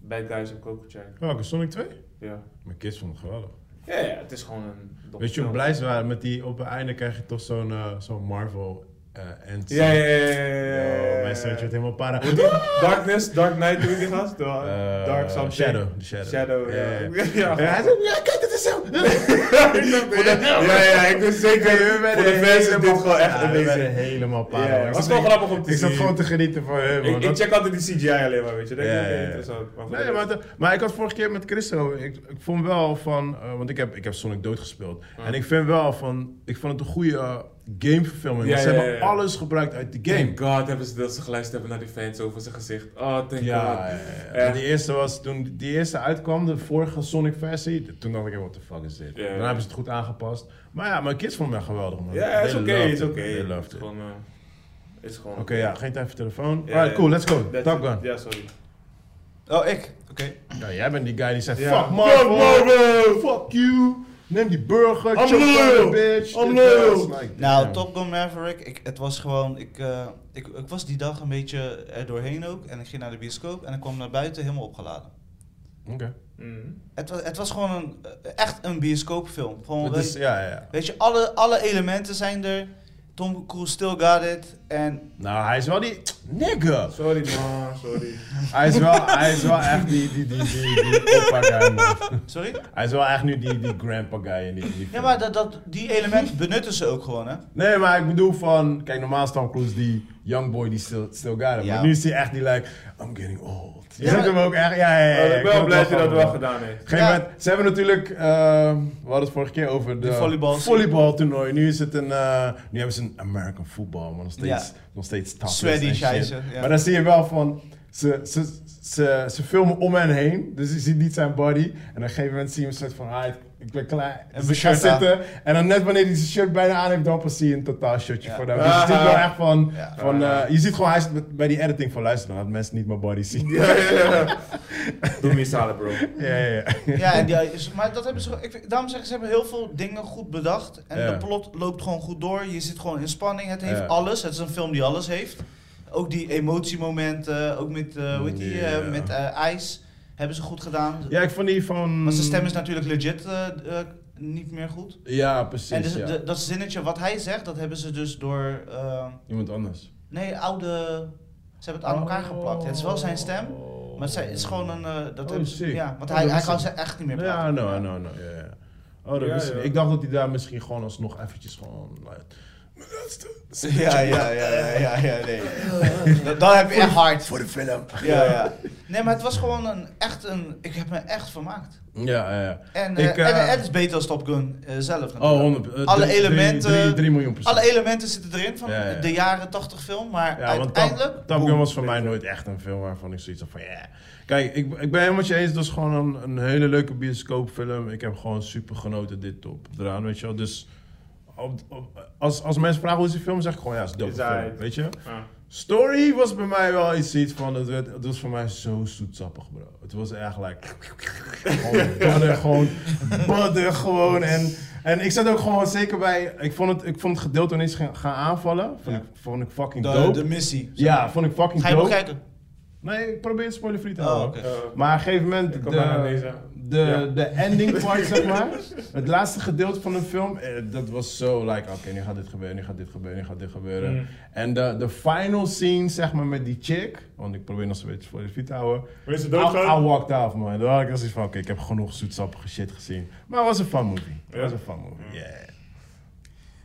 Bad Guys heb ik ook gecheckt. Welke? Sonic 2? Ja. Mijn kids vonden het geweldig. Ja, ja, het is gewoon een. domme Weet je hoe film. blij ze waren met die... Op het einde krijg je toch zo'n eh, zo'n Marvel eh end. Ja, ja, ja, ja, ja, ja, ja, Yo, ja. Mijn zoontje werd helemaal para. Hoe die- Darkness, Dark Knight, hoe die gast? De- Eh, Dark something. Shadow, de Shadow. Shadow, ja. Ja, Ja, Ja, hij zei, ja, kijk, dit is hem! Voor de- ja, ja, ik ben zeker, voor de fans is dit gewoon echt Ja, we werden amazing. helemaal Ja, paar. ja, het was wel grappig om te Ik zat zien. gewoon te genieten van hem. man. Ik, ik Dat- check altijd die CGI alleen maar, weet je. Dat Ja, is ja, ja. interessant. Maar voor de Nee, maar, rest- de- maar ik had vorige keer met Christo, ik, ik vond wel van, eh, want ik heb, ik heb Sonic doodgespeeld. En ik vind wel van, ik vond het een goede eh, gameverfilming. Ja, want ze ja, hebben ja, ja. alles gebruikt uit de game. Thank God hebben ze dat ze geluisterd hebben naar die fans over zijn gezicht. Oh, thank Ja, God. ja, ja. die eerste was toen die eerste uitkwam, de vorige Sonic versie. Toen dacht ik, what the fuck is dit? Ja. Daarna hebben ze het goed aangepast. Maar ja, mijn kids vonden mij geweldig. Man. Ja, is They oké, loved is it. oké. They Het loved is it. gewoon, eh, is gewoon. Oké, ja, geen tijd voor telefoon. Ja, Alright, ja. cool, let's go. That's Top it. Gun. Ja, sorry. Oh, ik? Oké. Ja, jij bent die guy die zegt, Ja. fuck Marvel, fuck you, neem die burger, I'm choke loyal. down, bitch. I'm Dit, dat. loyal. Like, Nou, damn. Top Gun Maverick, ik, het was gewoon, ik, eh, ik, ik was die dag een beetje er doorheen ook. En ik ging naar de bioscoop en ik kwam naar buiten helemaal opgeladen. Oké. Mhm. Mm. Het was, het was gewoon een, eh, echt een bioscoopfilm. Gewoon, Het weet, is, ja, ja. weet je, alle, alle elementen zijn er. Tom Cruise still got it. En Nou, hij is wel die, nigga. Sorry man, sorry. Hij is wel, hij is wel echt die, die, die, die, die opa guy, man. sorry? Hij is wel echt nu die, die grandpa guy in die, in die Ja, film. maar dat, dat, die elementen benutten ze ook gewoon, hè? Nee, maar ik bedoel van... Kijk, normaal is Tom Cruise die young boy die still, still got it. Ja. Maar nu is hij echt die like, I'm getting old. Je Ja, ziet maar- hem ook echt... Ja, ja, ja. Maar ja, Eh, ik ben wel blij dat je grappig, dat wel man. gedaan heeft. Geen Ja. moment- Ze hebben natuurlijk, ehm, we hadden het vorige keer over de De volleybal- volleybaltoernooi. Nu is het een, eh, nu hebben ze een American football, maar nog steeds, Ja. nog steeds tough. Sweaty en shit. scheisse, ja. Maar dan zie je wel van, ze, ze, ze, ze filmen om hen heen, dus je ziet niet zijn body. En op een gegeven moment zie je hem soort van, ah, ik- ik ben klaar. Dus En mijn ik ga shirt aan. zitten. En dan net wanneer hij zijn shirt bijna aan heeft, dan pas zie je een totaal shotje Ja. Ah. voor hem. Dus je ziet wel echt van, Ja. Ah. van eh, je ziet gewoon, hij is met- bij die editing van, luister, dan laat mensen niet mijn body zien. Ja, ja, ja. Doe me salen, bro. Ja, ja, ja. Ja, en die, is- maar dat hebben ze, ik, vind- daarom zeg ik, ze hebben heel veel dingen goed bedacht. En Ja. de plot loopt gewoon goed door. Je zit gewoon in spanning. Het heeft Ja. alles. Het is een film die alles heeft. Ook die emotiemomenten, ook met, eh hoe heet die, eh, Ja. met eh, ijs, hebben ze goed gedaan. Ja, ik vond die van... Maar zijn stem is natuurlijk legit eh, eh, niet meer goed. Ja, precies. en dus, ja. de- dat zinnetje wat hij zegt, dat hebben ze dus door, eh, Iemand anders. nee, oude, ze hebben het aan elkaar geplakt. Het is wel zijn stem, maar zij- het is gewoon een, eh, dat Oh, hebben ze- sick. ja, want Oh, hij, dat hij is kan hem. ze echt niet meer praten. Ja, no, no, no. Ja, ja. Oh, dat Ja, wist ik. ja. niet. Ik dacht dat hij daar misschien gewoon alsnog eventjes gewoon... Like, "Mijn laatste zinnetje." Ja, ja, ja, ja, ja, ja, nee. Dan, dan heb je echt hard. Voor de film. Ja, ja. Nee, maar het was gewoon een, echt een... Ik heb me echt vermaakt. Ja, ja, ja. En, Ik, eh, en, eh, en het is beter als Top Gun eh, zelf natuurlijk. Oh, 100... eh, Alle drie- drie- elementen- drie- drie miljoen procent. Alle elementen zitten erin van Ja, ja, ja. de jaren 80 film, maar Ja, want uiteindelijk... Top, Top Gun was voor mij nooit echt een film waarvan ik zoiets had van ja. Kijk, ik, ik ben helemaal met je eens. Het was gewoon een, een hele leuke bioscoopfilm. Ik heb gewoon super genoten dit top eraan, weet je wel. Dus op- op- als, als mensen vragen hoe is die film, zeg ik gewoon ja, het is dope Is film, aight. weet je. Ah. Story was bij mij wel iets, iets van, het, werd, het was voor mij zo zoetsappig bro. Het was echt like, gewoon badden, gewoon badden gewoon. En, en ik zat ook gewoon zeker bij, ik vond het, ik vond het gedeelte ineens gaan, gaan aanvallen, vond, ik, vond ik fucking de, dope. de missie. Ja, vond ik fucking Ga je nog dope. kijken? Nee, ik probeer het spoilerfree te Oh, houden. oké. Eh, Maar op een gegeven moment, Ik de, kom bijna aan deze. de, Ja. de ending part, zeg maar. Het laatste gedeelte van de film, eh, dat was zo like, oké, nu gaat dit gebeuren, nu gaat dit gebeuren, nu gaat dit gebeuren. Mm. En de, de final scene, zeg maar, met die chick, want ik probeer nog zo'n beetje voor de fiets te houden. Wanneer ze I, I doodgaan? walked off, man. Daar had ik zoiets van, oké, ik heb genoeg zoetsappige shit gezien. Maar het was een fun movie. Het Ja? was een fun movie, yeah.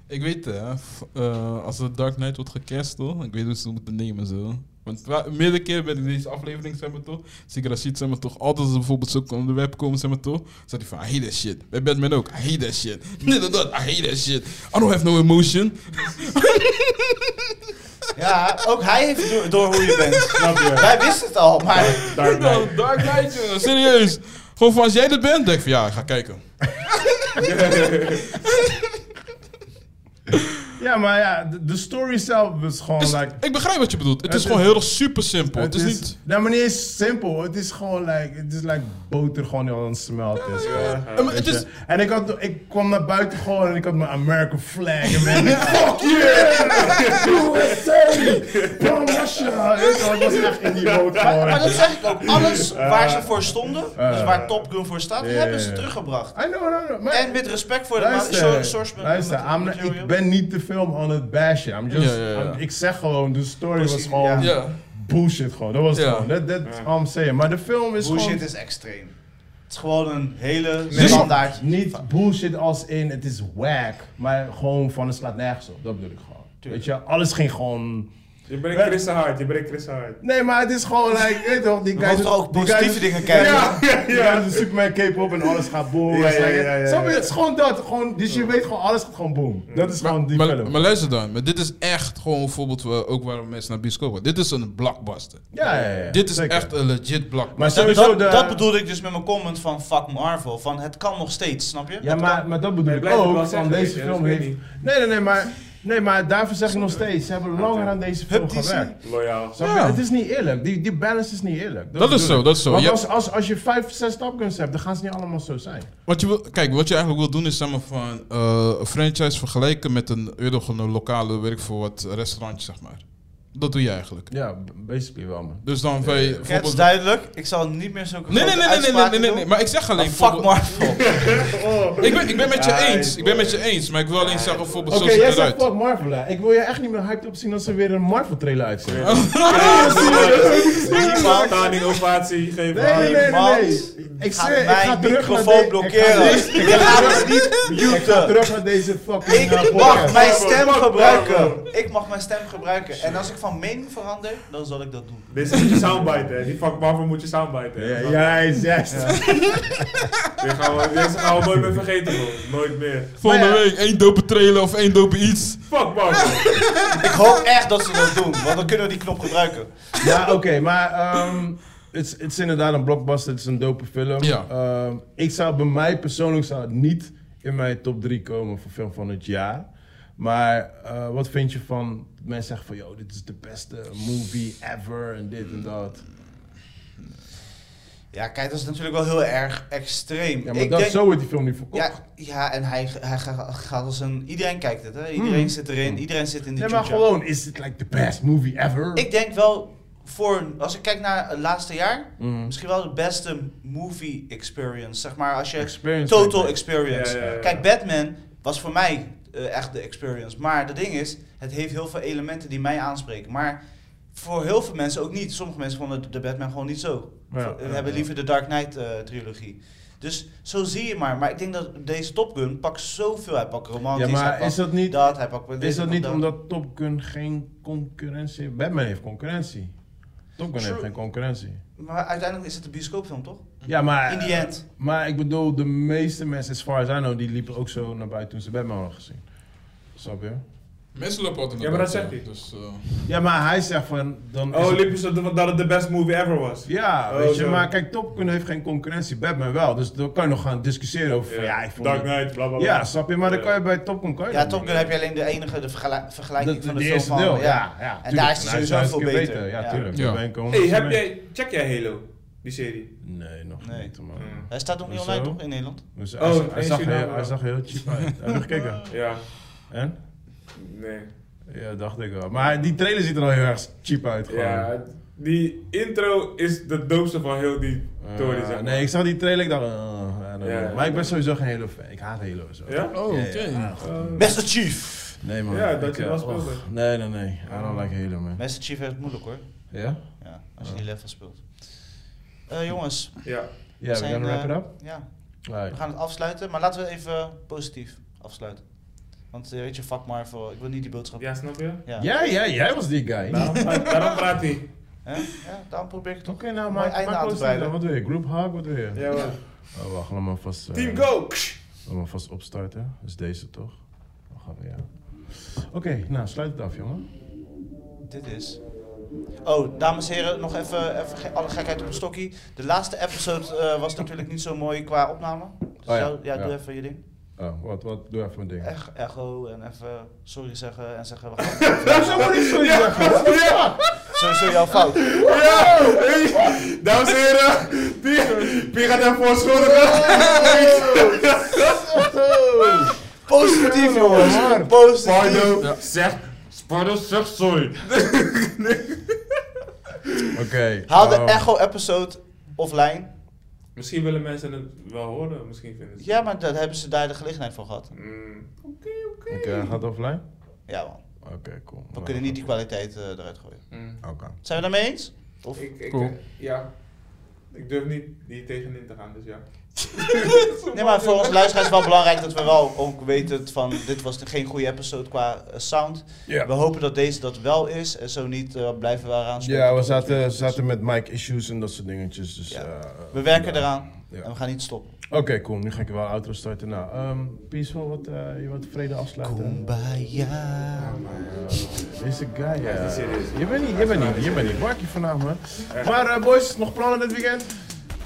Ik weet het, hè. F- eh, als de Dark Knight wordt gecast, hoor, ik weet hoe ze het moeten nemen, zo. Want wa- meerdere keer bij deze aflevering, zeg maar toch, zie ik Rashid, zeg maar toch, altijd als ze bijvoorbeeld zo op de web komen, zeg maar toch, zegt hij van, I hate that shit. Bij Batman ook, I hate that shit. Dit en dat, I hate that shit. I don't have no emotion. Ja, ook hij heeft door, door hoe je bent. Snap je? Wij wisten het al, maar... Dark Knight. Nou, Dark Knight, jongen, serieus. Gewoon van, als jij dit bent, denk ik van, ja, ik ga kijken. Ja, maar ja, de, de story zelf was gewoon Dus, like... ik begrijp wat je bedoelt. Het Het is gewoon is- heel erg super simpel. Het is nou niet... maar niet eens simpel. Het is gewoon like, het is like boter gewoon die aan het smelten is. Eh, maar het Weet is, je? En ik, had, ik kwam naar buiten gewoon en ik had mijn American flag. En ben ik, fuck yeah! USA! Bro, Russia! Weet je wel, Ik was echt in die boot Maar, maar gewoon. dat zeg ik ook. Alles waar ze voor stonden, dus waar Top Gun voor staat, die ja, hebben ze ja. teruggebracht. I know, I know. Maar, En met respect voor de ma- luister, so- source luister met- I'm not- met ik material. ben niet de film aan het bashen. I'm just, Ja, ja, ja. I'm- ik zeg gewoon, de story was Precies, gewoon ja. bullshit gewoon. Dat was het Ja. gewoon. Dat dat is all I'm saying. Maar de film is gewoon... Bullshit is extreem. Het is gewoon een hele Nee. standaard. Niet bullshit als in het is whack, maar gewoon van het slaat nergens op. Dat bedoel ik gewoon. Tuurlijk. Weet je, alles ging gewoon Je brengt Wij- Chris hard. Je breekt Chris hard. Nee, maar het is gewoon, like, je weet toch, die We guys... mogen toch ook die positieve guys- dingen kijken? Ja, ja, ja. Ja. de Superman K-pop en alles gaat boom. Ja, ja, Snap je? ja, ja, Snap je? ja. Het is gewoon dat. Gewoon, dus je weet gewoon, alles gaat gewoon boom. Dat is gewoon die Maar, film. maar luister dan, maar dit is echt gewoon een voorbeeld waar- ook waarom mensen naar bioscoop gaan. Dit is een blockbuster. ja, ja, ja. Dit is zeker. echt een legit blockbuster. Maar Dat, sowieso dat, de... dat bedoelde ik dus met mijn comment van fuck Marvel. Van het kan nog steeds, snap je? Ja, Het maar, maar dat bedoel Nee, ik blijf het wel ook, van zeggen, deze weet je, film dat weet heeft... ik Nee, nee, nee, maar... Nee, maar daarvoor zeg ik nog steeds, ze hebben langer aan deze film Hup, die gewerkt. Loyaal. Snap je? Ja. Het is niet eerlijk. Die, die balance is niet eerlijk. Dat is bedoel zo, ik. dat is zo. Want Ja. als, als, als je vijf, zes topguns hebt, dan gaan ze niet allemaal zo zijn. Wat je wil, kijk, wat je eigenlijk wil doen is zeg maar, van, eh, een franchise vergelijken met een, weet je, gewoon een lokale werk voor wat restaurantje, zeg maar. Dat doe je eigenlijk. Ja, b- basically wel, man. Dus dan wij is bijvoorbeeld... duidelijk. Ik zal niet meer zulke Nee, nee, grote nee, nee, nee, nee, uitspraken nee, nee, doen. Maar ik zeg alleen... fuck voorbeeld- Marvel. ik, ben, ik ben met je Ah, eens. Ik ben met je eens. Maar ik wil alleen zeggen, bijvoorbeeld, Oké, zo jij ziet het zegt eruit. fuck Marvel, hè. Ik wil je echt niet meer hyped op zien als ze weer een Marvel trailer uitzien. Standing ovatie geven. Ah, Nee, nee, nee, nee, Mans, nee. Ik gaat zweer, ik mijn ga terug naar microfoon de- blokkeren. Ik ga, Ik ga terug- het niet ik ga muten. terug naar deze fucking eh, Ik podcast. mag mijn stem Marvel. gebruiken. Ik mag mijn stem gebruiken. En als ik van mening verander, dan zal ik dat doen. Deze moet je soundbite, hè. Die fuck Marvel moet je soundbite, hè. Ja, Juist, juist. Dit gaan we, dit gaan we nooit meer vergeten, bro. Nooit meer. Volgende Maar ja. week één dope trailer of één dope iets. Fuck Marvel. Ik hoop echt dat ze dat doen, want dan kunnen we die knop gebruiken. Ja, oké, maar ehm, het is- het is inderdaad een blockbuster, het is een dope film. Ja. Ehm, ik zou bij mij persoonlijk zou het niet in mijn top 3 komen voor film van het jaar. Maar eh, wat vind je van mensen zeggen van, yo, dit is de beste movie ever en dit en dat. Ja, kijk, dat is natuurlijk wel heel erg extreem. Ja, maar ik dat, denk, zo wordt die film niet verkocht. ja, ja, en hij, hij ga- gaat als een... Iedereen kijkt het, hè? Iedereen zit erin, iedereen zit in de Hmm. nee, maar tjoetja. gewoon, is het like the best movie ever? Ik denk wel, voor, als ik kijk naar het laatste jaar, Mhm. misschien wel de beste movie experience. Zeg maar, als je Experience, denk total ik. experience. Ja, ja, ja. Kijk, Batman was voor mij eh, echt de experience. Maar het ding is, het heeft heel veel elementen die mij aanspreken. Maar voor heel veel mensen ook niet. Sommige mensen vonden de- de Batman gewoon niet zo. Ja, Voor- eh, ja, hebben ja. liever de Dark Knight eh, trilogie. Dus zo zie je maar. Maar ik denk dat deze Top Gun pakt zoveel. Hij pakt romantisch, Ja, maar hij pakt is dat niet- dat, hij pakt Is dit, dat hij niet pakt omdat Top Gun geen concurrentie heeft? Batman heeft concurrentie. Top Gun heeft True. geen concurrentie. Maar uiteindelijk is het een bioscoopfilm, toch? Ja, maar... In the end. Maar ik bedoel, de meeste mensen, as far as I know, die liepen ook zo naar buiten toen ze Batman hadden gezien. Snap je? Mensen lopen altijd Ja, maar dat zeg ik. Dus, eh, Ja, maar hij zegt van... Dan is Oh, het- liepen ze dat dat het de best movie ever was. Ja, Oh, weet je, zo. maar kijk, Top Gun heeft geen concurrentie, Batman wel. Dus dan kan je nog gaan discussiëren over van, ja, ik vond Dark het- Knight, bla bla bla. Ja, snap je, maar dan Ja. kan je bij Top Gun... Kan je Ja, dat Top niet. Gun heb je alleen de enige de vergela- vergelijking Dat- van de, die film eerste van. deel, ja. ja. ja, En tuurlijk. daar is hij Nou, sowieso veel hartstikke beter. Ja, Ja. tuurlijk. Ja. Bij een komen Hey, ze heb mee. jij, check jij Halo? Die serie. Nee, nog Nee. niet, man. Mm. Hij staat nog niet Hoezo? online toch in Nederland? Dus hij, Oh, zag- hij, eens zag je heel, nou hij wel. zag er heel cheap uit. Heb je gekeken? Ja. En? Nee. Ja, dacht ik wel. Maar die trailer ziet er al heel erg cheap uit, gewoon. Ja, die intro is de doopste van heel die Eh, tory, zeg maar. nee, ik zag die trailer, ik dacht... eh, I don't Ja, know. maar ik ben sowieso geen Halo fan. Ik haat Halo. Zo. Ja? Oh, Ja, oké. ja, ja. Eh, Master Chief! Nee, man. Ja, dat je eh, wel och, speelde. Nee, nee, nee. I don't like Halo, man. Master Chief heeft het moeilijk hoor. Ja? Ja, als je die level speelt. Eh, jongens, Ja. Ja, we gaan wrap it eh, up. up? Ja, we Alright. gaan het afsluiten, maar laten we even positief afsluiten. Want eh, weet je, fuck Marvel, ik wil niet die boodschap. Ja, snap je? Ja. Ja, ja, jij was die guy. Daarom, daarom praat hij. Hè? ja, daarom probeer ik Oké, toch. nou, Mooi maar einde aan te breiden. Wat wil je? Group hug, wat wil je? Ja, man. Oh, wacht, laat maar vast... eh, Team Go! Laat maar vast opstarten. Dat is deze, toch? Wacht even, ja. Oké, nou, sluit het af, jongen. Dit is. Oh, dames en heren, nog even, even ge- alle gekheid op een stokkie. De laatste episode eh, was natuurlijk niet zo mooi qua opname. Dus Oh ja, jou- ja, doe ja. even je ding. Oh, wat, wat? Doe even mijn ding. Ech- echo en even sorry zeggen en zeggen we gaan Zo moet ik zo zeggen. Nou, Wat is dat? sowieso jouw fout. Ja! Hey, dames en heren! Wie, wie gaat hem voorschuldigen? Positief jongens, maar. positief. Pardo zegt... Pardo zegt sorry. Oké. Haal de ehm, echo episode offline. Misschien willen mensen het wel horen, misschien vinden ze Ja, maar daar hebben ze daar de gelegenheid voor gehad. Mm. Oké, hij gaat offline? Ja man, Oké, cool. we kunnen niet die kwaliteit eh, eruit gooien. Mm. Oké. Zijn we daarmee eens? Of? eh, Ik, ik, Cool. Ja. Ik durf niet hier tegenin te gaan, dus ja. Nee, maar voor ons luisteraars is het wel belangrijk dat we wel ook weten van dit was geen goede episode qua eh, sound. Ja. We hopen dat deze dat wel is en zo niet eh, blijven we eraan spelen. Ja, we zaten, zaten met mic issues en dat soort dingetjes. Dus, Ja. eh, We werken ja. eraan Ja. en we gaan niet stoppen. Oké, cool. Nu ga ik wel een outro starten. Nou, ehm Peaceful, wat, eh, je wilt tevreden afsluiten? Kumbaya. Deze guy, ja. is serieus. Je bent niet, je bent niet, je bent niet. Wakkie vandaag, man. Maar eh, boys, nog plannen dit weekend?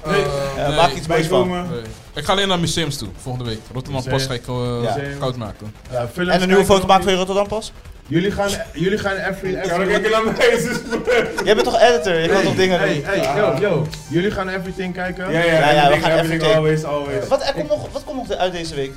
Nee. Eh, Nee. Maak iets moois van. Bijkomen. Nee. Ik ga alleen naar museums toe volgende week. Rotterdam Museum. pas ga ik eh, Ja. koud maken. Ja, films En een nieuwe kijken. foto maken van je Rotterdam pas? Jullie gaan, jullie gaan every, Ja, dan every kijk je naar mij. dus- is het super. Jij bent toch editor? Je kan toch dingen hey, doen? hey, yo, yo. Jullie gaan everything kijken? Ja, ja, ja, we gaan everything, even everything, kijken. always, always. Wat, er komt nog, wat komt nog uit deze week?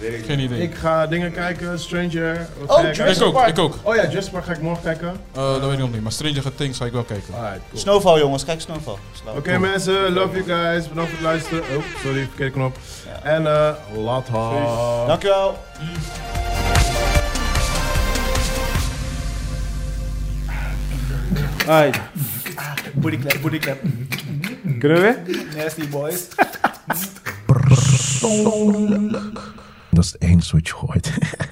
Weet ik niet. Geen idee. Ik ga dingen kijken, Stranger. wat Oh, ga jij kijken? Ik Jurassic ook, Park. ik ook. Oh ja, Jurassic Park ga ik morgen kijken. Eh, dat weet ik nog niet, maar Stranger Things ga ik wel kijken. Alright, cool. Snowfall jongens, kijk Snowfall. Slauw. Oké mensen, love you guys. Bedankt voor het luisteren. Oh, sorry, verkeerde knop. En eh, later. Dankjewel. Booty clap, booty clap. Kunnen we weer? Nasty boys. persoonlijk. Dat is het enige wat je gooit.